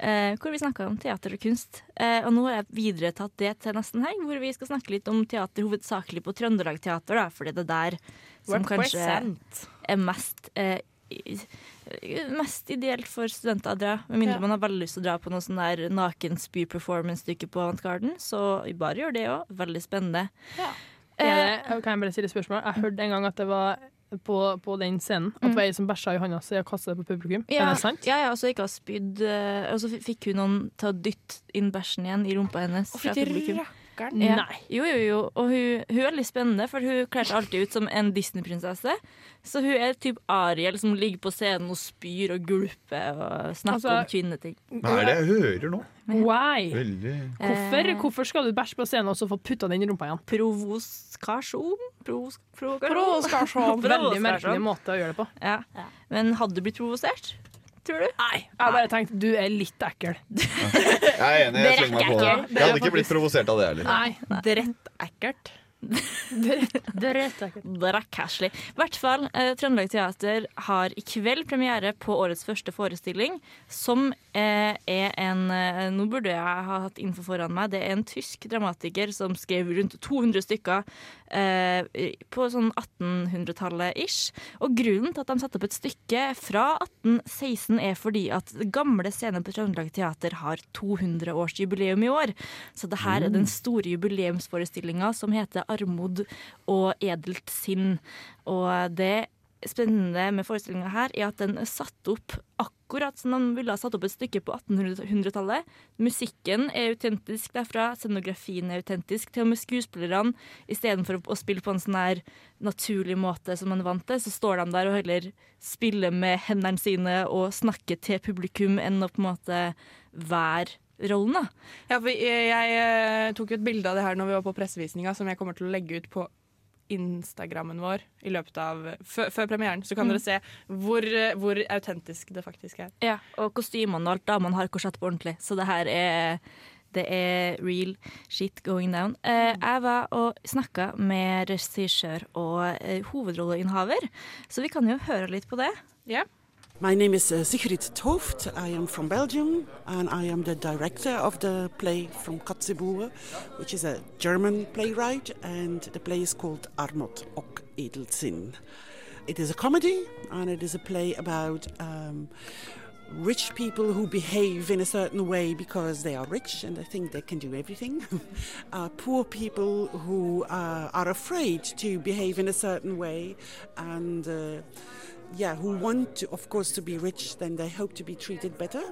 S10: eh, hvor vi snakka om teater og kunst. Eh, og nå har jeg videretatt det til nesten helg, hvor vi skal snakke litt om teater hovedsakelig på Trøndelag Teater, da, fordi det er der som
S1: Represent.
S10: kanskje er mest eh, i- Mest ideelt for studenter å dra, med mindre
S1: Ja.
S10: man har veldig lyst til å dra på noe sånn der naken spy-performance-stykke på Avantgarden. Så bare gjør det òg. Veldig spennende. Eh,
S3: Er det, kan jeg bare stille et spørsmål? Jeg hørte en gang at det var på, på den scenen
S1: Mm.
S3: at det var ei som bæsja i hånda si og kasta det på publikum. Er det sant?
S10: Ja, ja, og så gikk hun og spydd, eh, og så f- fikk hun noen til å dytte inn bæsjen igjen i rumpa hennes.
S1: Å,
S10: fra
S1: fytti
S10: publikum.
S1: rakkeren.
S10: Ja.
S3: Nei.
S10: Jo, jo, jo. Og hun, hun er veldig spennende, for hun kler seg alltid ut som en Disney-prinsesse. Så hun er typ Ariel som ligger på scenen og spyr og gulper og snakker
S3: Altså-
S10: om kvinneting.
S4: Hva er det jeg hører nå?
S3: Why?
S4: Veldig
S3: Hvorfor, hvorfor skal du bæsje på scenen og så få putta den i rumpa igjen?
S10: Provoskasjon? Provos provokasjon?
S1: Provoskasjon.
S3: Veldig merkelig måte å gjøre det på.
S10: Ja. Men hadde du blitt provosert? Tror du?
S3: Nei, jeg har bare tenkt du er litt ekkel.
S4: Jeg er enig. Jeg
S10: Det
S4: slenger meg
S10: rekker
S4: på
S10: jeg
S4: det.
S10: ikke.
S4: Jeg hadde ikke blitt provosert av det heller.
S3: Nei.
S1: Drett ekkelt.
S10: Brakkasli. I hvert fall, eh, Trøndelag Teater har i kveld premiere på årets første forestilling, som eh, er en eh, Nå burde jeg ha hatt info foran meg. Det er en tysk dramatiker som skrev rundt 200 stykker eh, i- på sånn 1800-tallet ish. Og grunnen til at de satte opp et stykke fra 1816, er fordi at det gamle scenen på Trøndelag Teater har 200-årsjubileum i år. Så det her er den store jubileumsforestillinga som heter 'Armod og edelt sinn'. Og det spennende med forestillinga her er at den er satt opp akkurat som de ville ha satt opp et stykke på 1800-tallet. Musikken er autentisk derfra, scenografien er autentisk. Til og med skuespillerne, istedenfor å spille på en sånn her naturlig måte som man er vant til, så står de der og heller spiller med hendene sine og snakker til publikum enn å på en måte være rollen, da.
S1: Ja, for jeg, jeg eh, tok jo et bilde av det her når vi var på pressevisninga, som jeg kommer til å legge ut på Instagrammen vår i løpet av før, før premieren. Så kan dere se hvor, eh, hvor autentisk det faktisk er.
S10: Ja, og kostymene og alt damene har korsett på ordentlig. Så det her er Det er real shit going down. Eh,
S1: Mm.
S10: jeg var og snakka med regissør og eh, hovedrolleinnehaver, så vi kan jo høre litt på det.
S11: My name is uh, Sigrid Toft. I am from Belgium and I am the director of the play from Katzenbue, which is a German playwright, and the play is called Armut och Edelsinn. It is a comedy and it is a play about um, rich people who behave in a certain way because they are rich and they think they can do everything. uh, poor people who uh, are afraid to behave in a certain way and uh, yeah, who want to, of course, to be rich, then they hope to be treated better.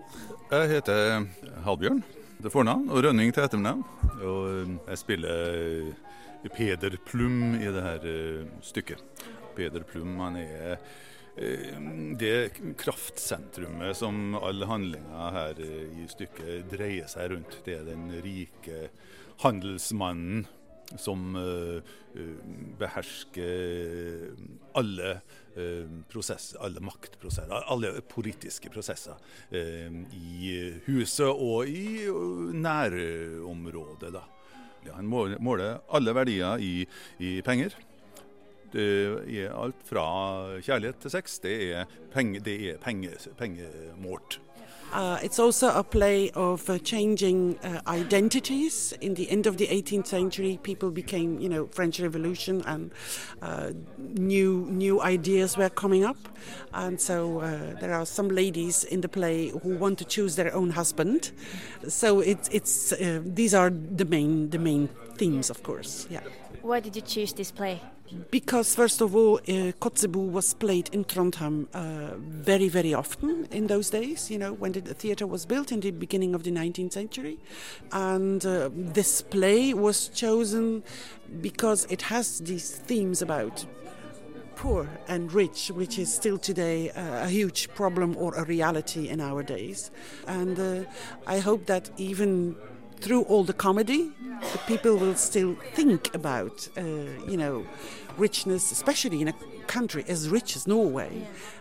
S12: Jeg heter eh, Halbjørn til fornavn og Rønning til etternavn. Og eh, jeg spiller eh, Peder Plum i det her eh, stykket. Peder Plum han er eh, det kraftsentrumet som all handlinga her eh, i stykket dreier seg rundt. Det er den rike handelsmannen som eh, eh, behersker alle eh, prosesser, alle maktprosesser, alle politiske prosesser eh, i huset og i eh, nærområdet. Da. Ja, Han må- måler alle verdier i, i penger. Det er alt fra kjærlighet til sex. Det er, penge, det er penge, pengemålt.
S11: Uh, it's also a play of uh, changing uh, identities. In the end of the 18th century, people became, you know, French Revolution, and uh, new new ideas were coming up. And so uh, there are some ladies in the play who want to choose their own husband. So it's it's uh, these are the main the main themes, of course. Yeah.
S13: Why did you choose this play?
S11: Because, first of all, uh, Kotzebue was played in Trondheim uh, very, very often in those days, you know, when the theatre was built in the beginning of the 19th century. And uh, this play was chosen because it has these themes about poor and rich, which is still today uh, a huge problem or a reality in our days. And uh, I hope that even through all the comedy, the people will still think about, uh, you know, richness, especially in a country as rich as Norway.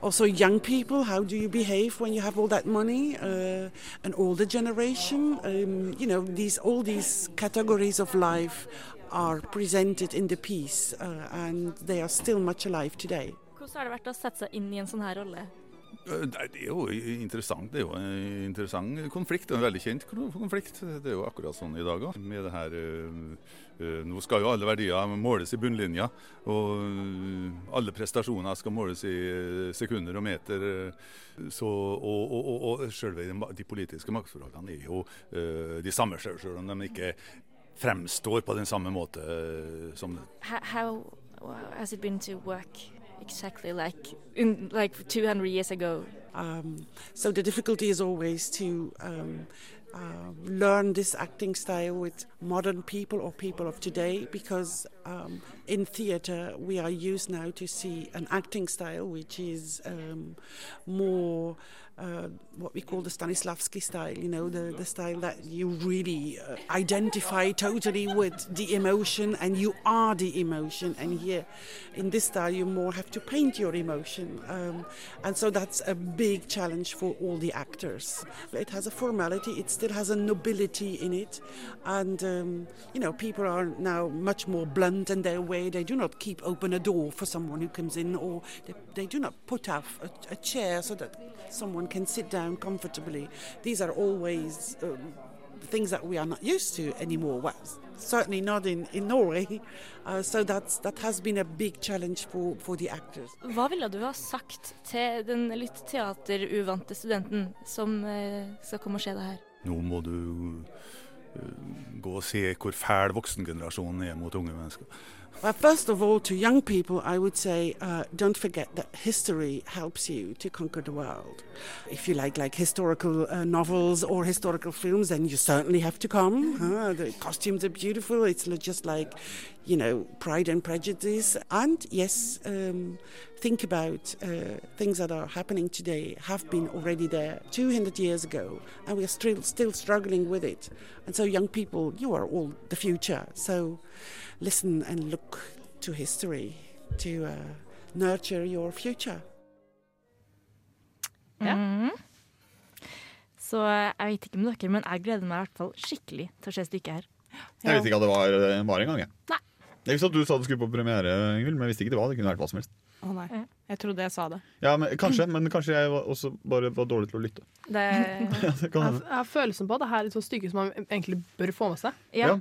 S11: Also, young people, how do you behave when you have all that money? Uh, an older generation, um, you know, these all these categories of life are presented in the piece, uh, and they are still much alive today.
S10: Hvordan har det vært å sette seg inn i en sånn her rolle?
S12: Eh, Nei, det er jo interessant. Det er jo en interessant konflikt, og en veldig kjent kro- konflikt. Det er jo akkurat sånn i dag òg. Med det her eh, eh, Nå skal jo alle verdier måles i bunnlinja, og eh, alle prestasjoner skal måles i eh, sekunder og meter. eh, Så, og, og, og, og selve de ma- de politiske maktforholdene er jo eh, de samme, selv selv om de ikke fremstår på den samme måte eh, som
S13: How, how has it been to work exactly like in, like 200 years ago?
S11: Um, so the difficulty is always to um, uh, learn this acting style with modern people or people of today, because um, in theatre we are used now to see an acting style which is um, more uh, what we call the Stanislavski style. You know, the the style that you really uh, identify totally with the emotion, and you are the emotion. And here, in this style, you more have to paint your emotion, um, and so that's a big challenge for all the actors. It has a formality, it still has a nobility in it, and um, you know people are now much more blunt in their way. They do not keep open a door for someone who comes in, or they, they do not put out a, a chair so that someone can sit down comfortably. These are always. Um, things that we are not used to anymore. Well, certainly not in, in Norway. Uh, so that's, that has been a big challenge for, for the actors.
S10: Hva ville du ha sagt til den litt teateruvante studenten som eh, skal komme og se det her?
S12: Nå må du eh, gå og se hvor fæl voksengenerasjonen er mot unge mennesker.
S11: Well, first of all, to young people, I would say uh, don't forget that history helps you to conquer the world. If you like like historical uh, novels or historical films, then you certainly have to come. huh? The costumes are beautiful. It's li- just like, you know, Pride and Prejudice. And yes, um, think about uh, things that are happening today have been already there 200 years ago, and we are still still struggling with it. And so, young people, you are all the future. So listen and look to history to uh, nurture your future.
S10: Mhm. Så jeg vet ikke med dere, men jeg gleder meg i hvert fall skikkelig til å se stykket her.
S4: Jeg visste ikke at det var, eh, var engang. Jeg.
S10: Nei.
S4: jeg visste sånn at du sa du skulle på premiere, Ingvild, men jeg visste ikke det var. Det kunne vært hva som helst.
S1: Å nei, jeg trodde jeg sa det.
S4: Ja, men, Kanskje,
S3: Mm.
S4: men kanskje jeg var også bare var dårlig til å lytte.
S3: Det...
S4: Ja, det kan
S3: Jeg,
S4: hende.
S3: jeg har følelsen på at det her er et sånt stykke som man egentlig bør få med seg.
S4: Ja.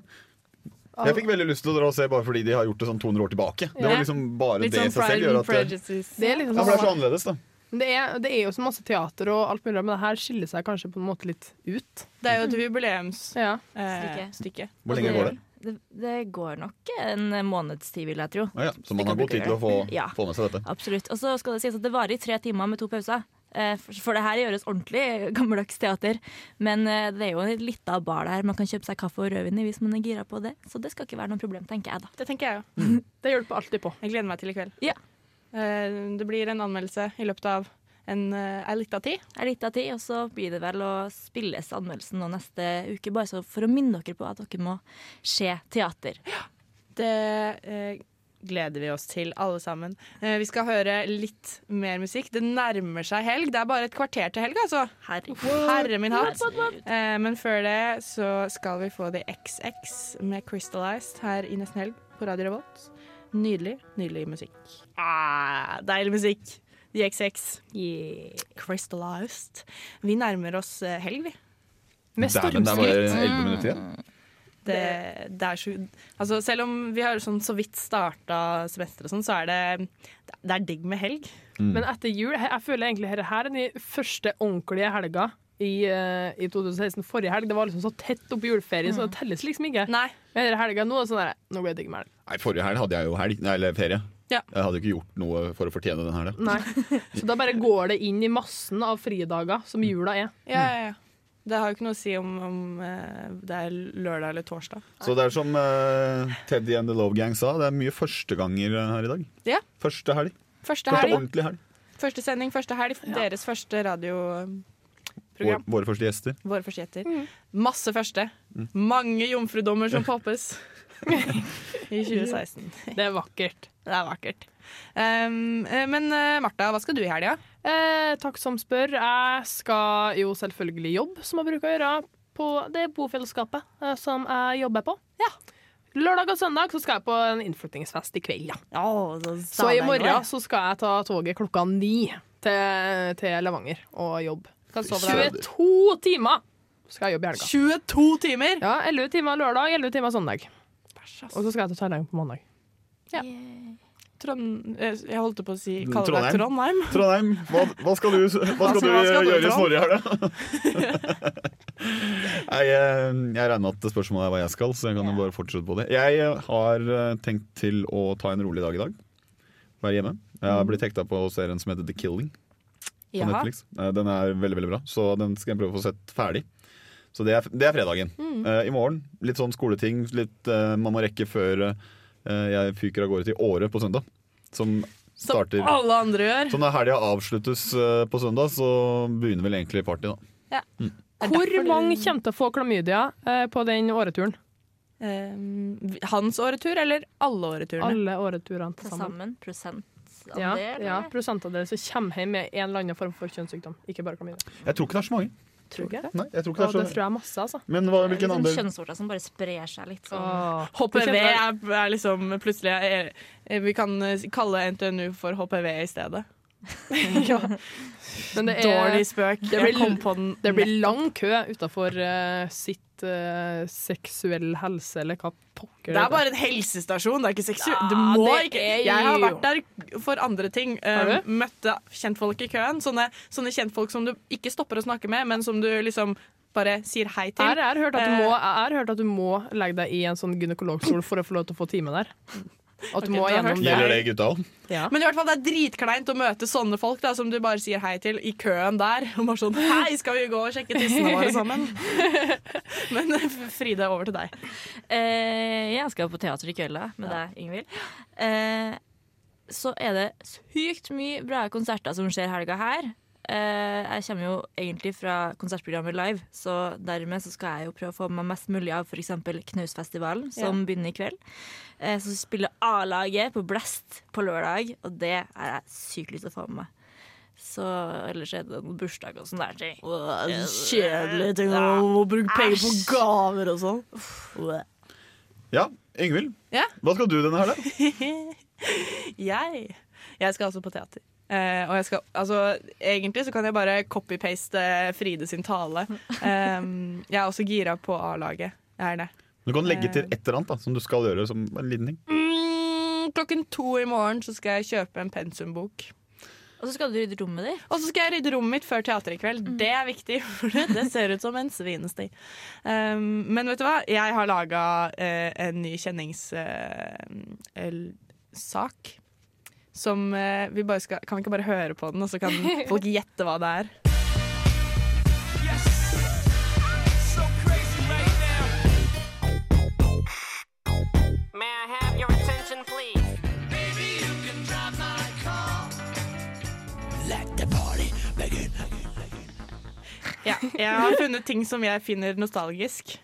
S4: Jeg fikk veldig lyst til å dra og se bare fordi de har gjort det sånn 200 år tilbake. Det var
S3: Ja.
S4: liksom bare
S3: Litt
S4: det i
S3: sånn
S4: seg selv
S3: Pride
S4: gjør
S3: and
S4: at det,
S3: Prejudice. Det er
S4: ja,
S3: liksom
S4: for det er så
S3: sånn-
S4: annerledes, da.
S3: Men Det er, det er jo så masse teater og alt mulig, men det her skiller seg kanskje på en måte litt ut.
S1: Det er jo et jubileumsstykke.
S3: Ja.
S10: Stykke.
S4: Hvor lenge går
S10: Eh, Altså,
S4: det?
S10: Det, det går nok en måneds tid, vil jeg tro.
S4: Ah, ja. Så man har god tid til å få,
S10: Ja.
S4: få med seg dette.
S10: Absolutt. Og så skal det sies at det varer i tre timer med to pauser. Eh, For for det her gjøres ordentlig gammeldags teater. Men eh, det er jo en lita bar der. Man kan kjøpe seg kaffe og rødvin i hvis man er gira på det. Så det skal ikke være noe problem, tenker jeg da.
S1: Det tenker jeg jo.
S3: Det hjelper alltid på.
S1: Jeg gleder meg til i kveld.
S10: Ja.
S1: Eh, Det blir en anmeldelse i løpet av en, eh, ei lita tid.
S10: Det er litt av tid, og så blir det vel å spilles anmeldelsen nå neste uke. Bare så for å minne dere på at dere må se teater.
S1: Det eh, gleder vi oss til, alle sammen. Eh, vi skal høre litt mer musikk. Det nærmer seg helg. Det er bare et kvarter til helg, altså.
S10: Herre,
S1: min hatt. Eh, men før det så skal vi få The XX med Crystallized her i Nesten Helg på Radio Revolt. Nydelig, nydelig musikk. Ah, deilig musikk. The XX. Crystallized. Vi nærmer oss eh, helg, vi.
S4: Dæven,
S1: Med
S4: det er bare
S1: stormskritt.
S4: 11 minutter igjen.
S1: Det, det er så, altså selv om vi har sånn så vidt starta semesteret, og sånn, så er det, det er digg med helg.
S4: Mm.
S3: Men etter jul Jeg, jeg føler egentlig her, her er den første ordentlige helga i, eh, i 2016. Forrige helg det var liksom så tett opp i juleferie, så
S1: Mm.
S3: det telles liksom ikke. Men denne helga nå er det sånn der, Nå blir det digg med helg.
S4: Nei, Forrige helg hadde jeg jo helg, nei, eller ferie.
S3: Ja.
S4: Jeg hadde jo ikke gjort noe for å fortjene den helga.
S3: Nei. Så da bare går det inn i massen av fridager som jula er.
S1: Ja, ja, ja. Det har jo ikke noe å si om, om eh, det er lørdag eller torsdag.
S4: Så det er som eh, Teddy and the Love Gang sa, det er mye førsteganger eh, her i dag.
S1: Ja,
S4: Første helg.
S1: Første
S4: Første
S1: helg.
S4: ordentlig helg.
S1: Første sending, første helg. Deres første
S4: Vår,
S1: radioprogram.
S4: våre første gjester.
S1: Våre første gjetter.
S3: Mm.
S1: Masse første.
S4: Mm.
S1: Mange jomfrudommer som poppes i 2016.
S3: Det er vakkert.
S1: Det er vakkert. Um, eh, men eh, Martha, hva skal du i helga?
S3: Eh, takk som spør. Jeg skal jo selvfølgelig jobbe, som jeg bruker å gjøre, på det bofellesskapet eh, som jeg jobber på. Lørdag og søndag så skal jeg på en innflyttingsfest i kveld, ja.
S1: så,
S3: Så i
S1: deilig.
S3: morgen så skal jeg ta toget klokka ni til, til Levanger og jobbe.
S1: Skal sove der.
S3: 22 timer skal jeg jobbe i helga.
S1: 22 timer?
S3: Ja, 11 timer lørdag, 11 timer søndag. Og så skal jeg til Thailand på mandag.
S1: Ja. Trond, eh, jeg holdt på å si kalle deg
S4: Trondheim.
S1: Trondheim. Altså,
S4: Trondheim. Hva, hva skal du, hva skal du
S1: Hva skal du,
S4: gjøre i
S1: Trond?
S4: Snorre her, da? Nei, eh, jeg regner med at spørsmålet er hva jeg skal, så jeg kan jo bare fortsette på det. Jeg eh, har eh, tenkt til å ta en rolig dag i dag. Være hjemme. Jeg har blitt hekta på serien som heter The Killing på
S8: Jaha.
S4: Netflix. Eh, Den er veldig veldig bra, så den skal jeg prøve å få sett ferdig. Så det er, det er fredagen.
S8: Mm.
S4: Eh, I morgen litt sånn skoleting litt, eh, man må rekke før eh, jeg fyker av gårde til Åre på søndag. Som starter
S1: Alle andre gjør.
S4: Så når helga avsluttes eh, på søndag, så begynner vel egentlig party, da.
S3: Hvor mange kommer til å få klamydia eh, på den åreturen?
S1: Eh, hans åretur eller alle åreturene?
S3: Alle åreturene til
S10: Til
S3: sammen.
S10: sammen prosentandel.
S3: Ja, ja
S10: eller?
S3: prosentandel som kommer hjem med en eller annen form for kjønnssykdom. Ikke bare klamydia.
S4: Jeg tror ikke det er så mange.
S3: Tror du ikke?
S4: Nei, jeg tror ikke det
S3: Å,
S4: er så
S3: det tror jeg masse, altså.
S4: Men hva, hvilken
S10: Litt sånn
S4: andel?
S10: kjønnsorter
S1: altså.
S10: som bare sprer seg litt sånn.
S1: HPV er, er liksom plutselig er, er, Vi kan eh, kalle NTNU for HPV i stedet. ja.
S3: Men det er-
S1: Dårlig spøk.
S3: Det
S1: Jeg
S3: blir-
S1: kom på den
S3: Det blir
S1: nett-
S3: lang kø utafor sitt eh, seksuell helse, eller hva pokker
S1: Det er bare en helsestasjon, det er ikke seksuelt.
S3: Ja,
S1: du må
S3: det
S1: ikke
S3: er
S1: Jeg har
S3: jo-
S1: vært der for andre ting.
S3: Har
S1: Eh,
S3: du?
S1: møtte kjentfolk i køen. Sånne, sånne kjentfolk som du ikke stopper å snakke med, men som du liksom bare sier hei til.
S3: Jeg har hørt at du
S1: Eh,
S3: må- jeg har hørt at du må legge deg i en sånn gynekologstol for å få lov til å få time der. At du
S1: Ok,
S3: må
S1: du har hørt
S3: gjennom
S4: Gjelder det
S3: det.
S4: gutta òg?
S3: Ja.
S1: Men i hvert fall det er dritkleint å møte sånne folk da, som du bare sier hei til i køen der. Og bare sånn Hei, skal vi gå og sjekke tissene våre sammen? Men Fride, over til deg.
S10: Eh, jeg skal på teater i kveld da, med deg, Ingvild. Eh, så er det sykt mye bra konserter som skjer helga her. Eh, jeg kommer jo egentlig fra konsertprogrammet Live, så dermed så skal jeg jo prøve å få med meg mest mulig av f.eks. Knausfestivalen, som
S13: Ja.
S10: begynner i kveld. Eh, så spiller A-laget på Blast på lørdag, og det har jeg sykt lyst til å få med meg. Så ellers er det noen bursdag og sånne der ting.
S1: Kjedelig ting å å bruke penger på gaver og sånn. Uæ.
S4: Ja, Ingvild.
S1: Ja.
S4: Hva skal du denne her, da?
S1: jeg. Jeg skal altså på teater. Eh, og jeg skal, altså, egentlig så kan jeg bare copy-paste eh, Fride sin tale. Ehm, jeg er også gira på A-laget. Jeg er det.
S4: Du kan legge til et eller annet da, som du skal gjøre som en liten ting.
S1: Mm, klokken to i morgen så skal jeg kjøpe en pensumbok.
S10: Og så skal du rydde rommet ditt? Mm.
S1: Og så skal jeg rydde rommet mitt før teateret i kveld. Det er viktig, for det ser ut som en svinesti. Ehm, men vet du hva? Jeg har laga en ny kjenningssak. som eh, vi bare skal Kan vi ikke bare høre på den, og så kan folk gjette hva det er?
S8: May I have your attention, please? Baby, you can drive my car. Let the party begin.
S1: Ja, jeg har funnet ting som jeg finner nostalgisk.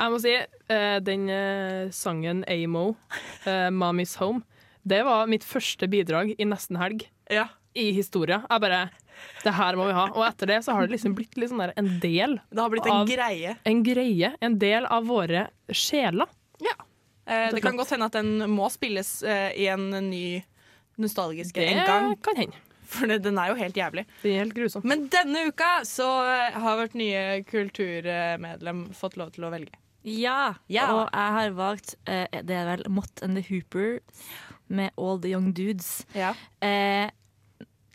S3: Jeg må si, eh, den eh, sangen Amo, eh, 'Mommy's Home', det var mitt første bidrag i nesten helg i historia. Jeg bare Det her må vi ha. Og etter det så har det liksom blitt litt sånn der en del
S1: Det har blitt en greie.
S3: En greie. En del av våre sjeler.
S1: Ja. Eh, det kan godt hende at den må spilles eh, i en ny nostalgisk
S3: Det
S1: en gang.
S3: kan hende.
S1: For det- den er jo helt jævlig.
S3: Den er helt grusom.
S1: Men denne uka så eh, har vårt nye kulturmedlem fått lov til å velge.
S10: Ja.
S1: Ja.
S10: Og jeg har valgt eh, Det er vel Mott and the Hooper med All the Young Dudes.
S1: Ja.
S10: Eh,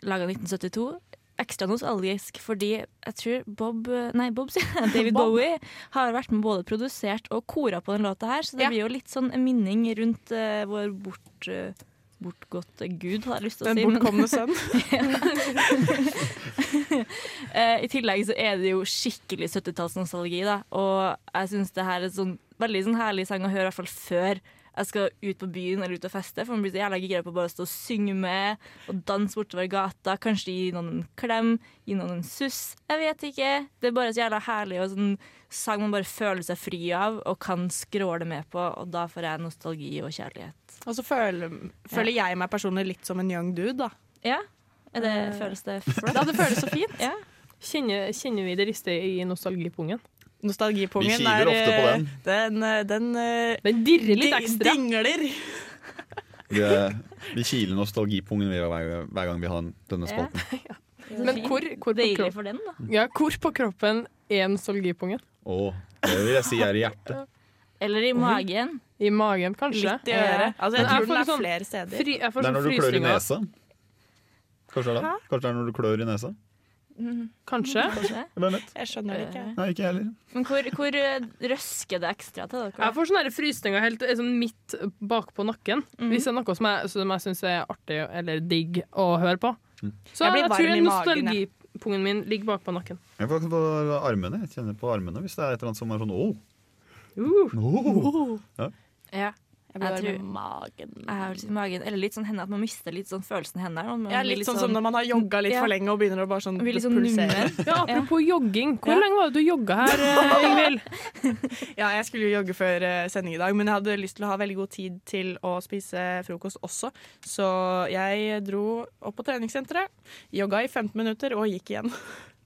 S10: Laga 1972. Ekstra nostalgisk fordi jeg tror Bob eh, Nei, Bob sier jeg. David
S1: Bob.
S10: Bowie har vært med både produsert og kora på den låta her, så det blir jo litt sånn en minning rundt eh, vår bort, eh, bortgåtte gud, har jeg lyst til å
S1: Den
S10: si. men-
S1: bortkomne sønn.
S10: Eh, I tillegg så er det jo skikkelig 70-tallsnostalgi, da. Og jeg syns det her er et sånn veldig sånn herlig sang å høre, i hvert fall før jeg skal ut på byen eller ut og feste. For man blir så jævla gira på bare å stå og synge med og danse bortover gata. Kanskje gi noen en klem, gi noen en suss. Jeg vet ikke. Det er bare så jævla herlig og sånn sang man bare føler seg fri av og kan skråle med på, og da får jeg nostalgi og kjærlighet.
S1: Og så føler, føler jeg meg personlig litt som en young dude, da.
S10: Ja. Er det,
S1: Eh,
S10: føles det flott?
S1: Ja, det føles så fint.
S3: Kjenner, kjenner vi det rister i nostalgipungen?
S1: Nostalgipungen
S3: Vi kiler
S1: er,
S3: ofte på den.
S1: Den, eh, den, eh,
S3: Den dirrer litt
S1: di-
S3: ekstra.
S1: Dingler.
S4: Vi, eh, vi kiler nostalgipungen vi hver, hver gang vi har denne spalten.
S3: Men hvor, hvor på kroppen?
S10: for den, da.
S3: Ja, hvor på kroppen er nostalgipungen?
S4: Å, det vil jeg si er i hjertet.
S10: Eller i magen.
S3: I magen, kanskje.
S1: Litt i øret. Altså, jeg
S3: Men
S1: tror den
S3: får
S1: er
S3: litt sånn
S1: flere steder.
S3: Fri, jeg får
S4: Det er
S3: sånn
S4: når du klør i
S3: frysninger.
S4: nesa. Kanskje det er det?
S3: Hæ?
S4: Kanskje det er når du klør i nesa?
S1: Mhm.
S3: Kanskje.
S4: Hvem vet?
S1: Jeg skjønner
S10: det ikke.
S4: Nei, ikke heller.
S10: Men hvor, hvor eh, røsker det ekstra til dere?
S3: Jeg får sånne her frysninger helt eh, sånn midt bakpå nakken.
S1: Mhm.
S3: Hvis det er noe som jeg, som jeg syns er artig eller digg å høre på.
S4: Mm.
S3: Så
S1: Jeg
S3: jeg,
S1: blir varm
S3: tror
S1: i magen, jeg.
S3: nostalgipungen min ligger bakpå nakken.
S4: Jeg får på armene. Jeg kjenner på armene hvis det er et eller annet som er sånn åh.
S3: Åh.
S4: Ja.
S10: Ja.
S1: Jeg blir varm i
S10: magen. Jeg har litt i magen. Eller litt sånn henne, at man mister litt sånn følelsen i hendene. Man
S1: Ja,
S10: blir
S1: litt sånn som når man har jogga litt
S10: Ja.
S1: for lenge og begynner å bare sånn
S10: Man blir litt sånn
S1: pulsere.
S10: nummen.
S3: Ja, apropos jogging. Hvor lenge var det du jogga her, eh, Ingvild?
S1: Ja, jeg skulle jo jogge før eh, sending i dag, men jeg hadde lyst til å ha veldig god tid til å spise frokost også. Så jeg dro opp på treningssenteret, jogga i 15 minutter og gikk igjen.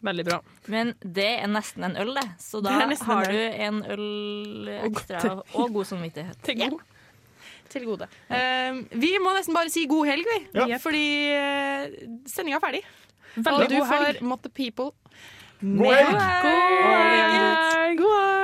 S3: Veldig bra.
S10: Men det er nesten en øl, det. Så da
S1: Det er nesten en
S10: har
S1: øl.
S10: du en øl
S1: Og godt.
S10: ekstra og, god samvittighet.
S3: Til god.
S1: Til gode. Eh, vi må nesten bare si god helg, vi. Fordi uh, sendinga er ferdig.
S3: Veldig
S1: og du
S3: god helg.
S1: får Mot the People.
S3: God helg.
S1: God helg. God helg.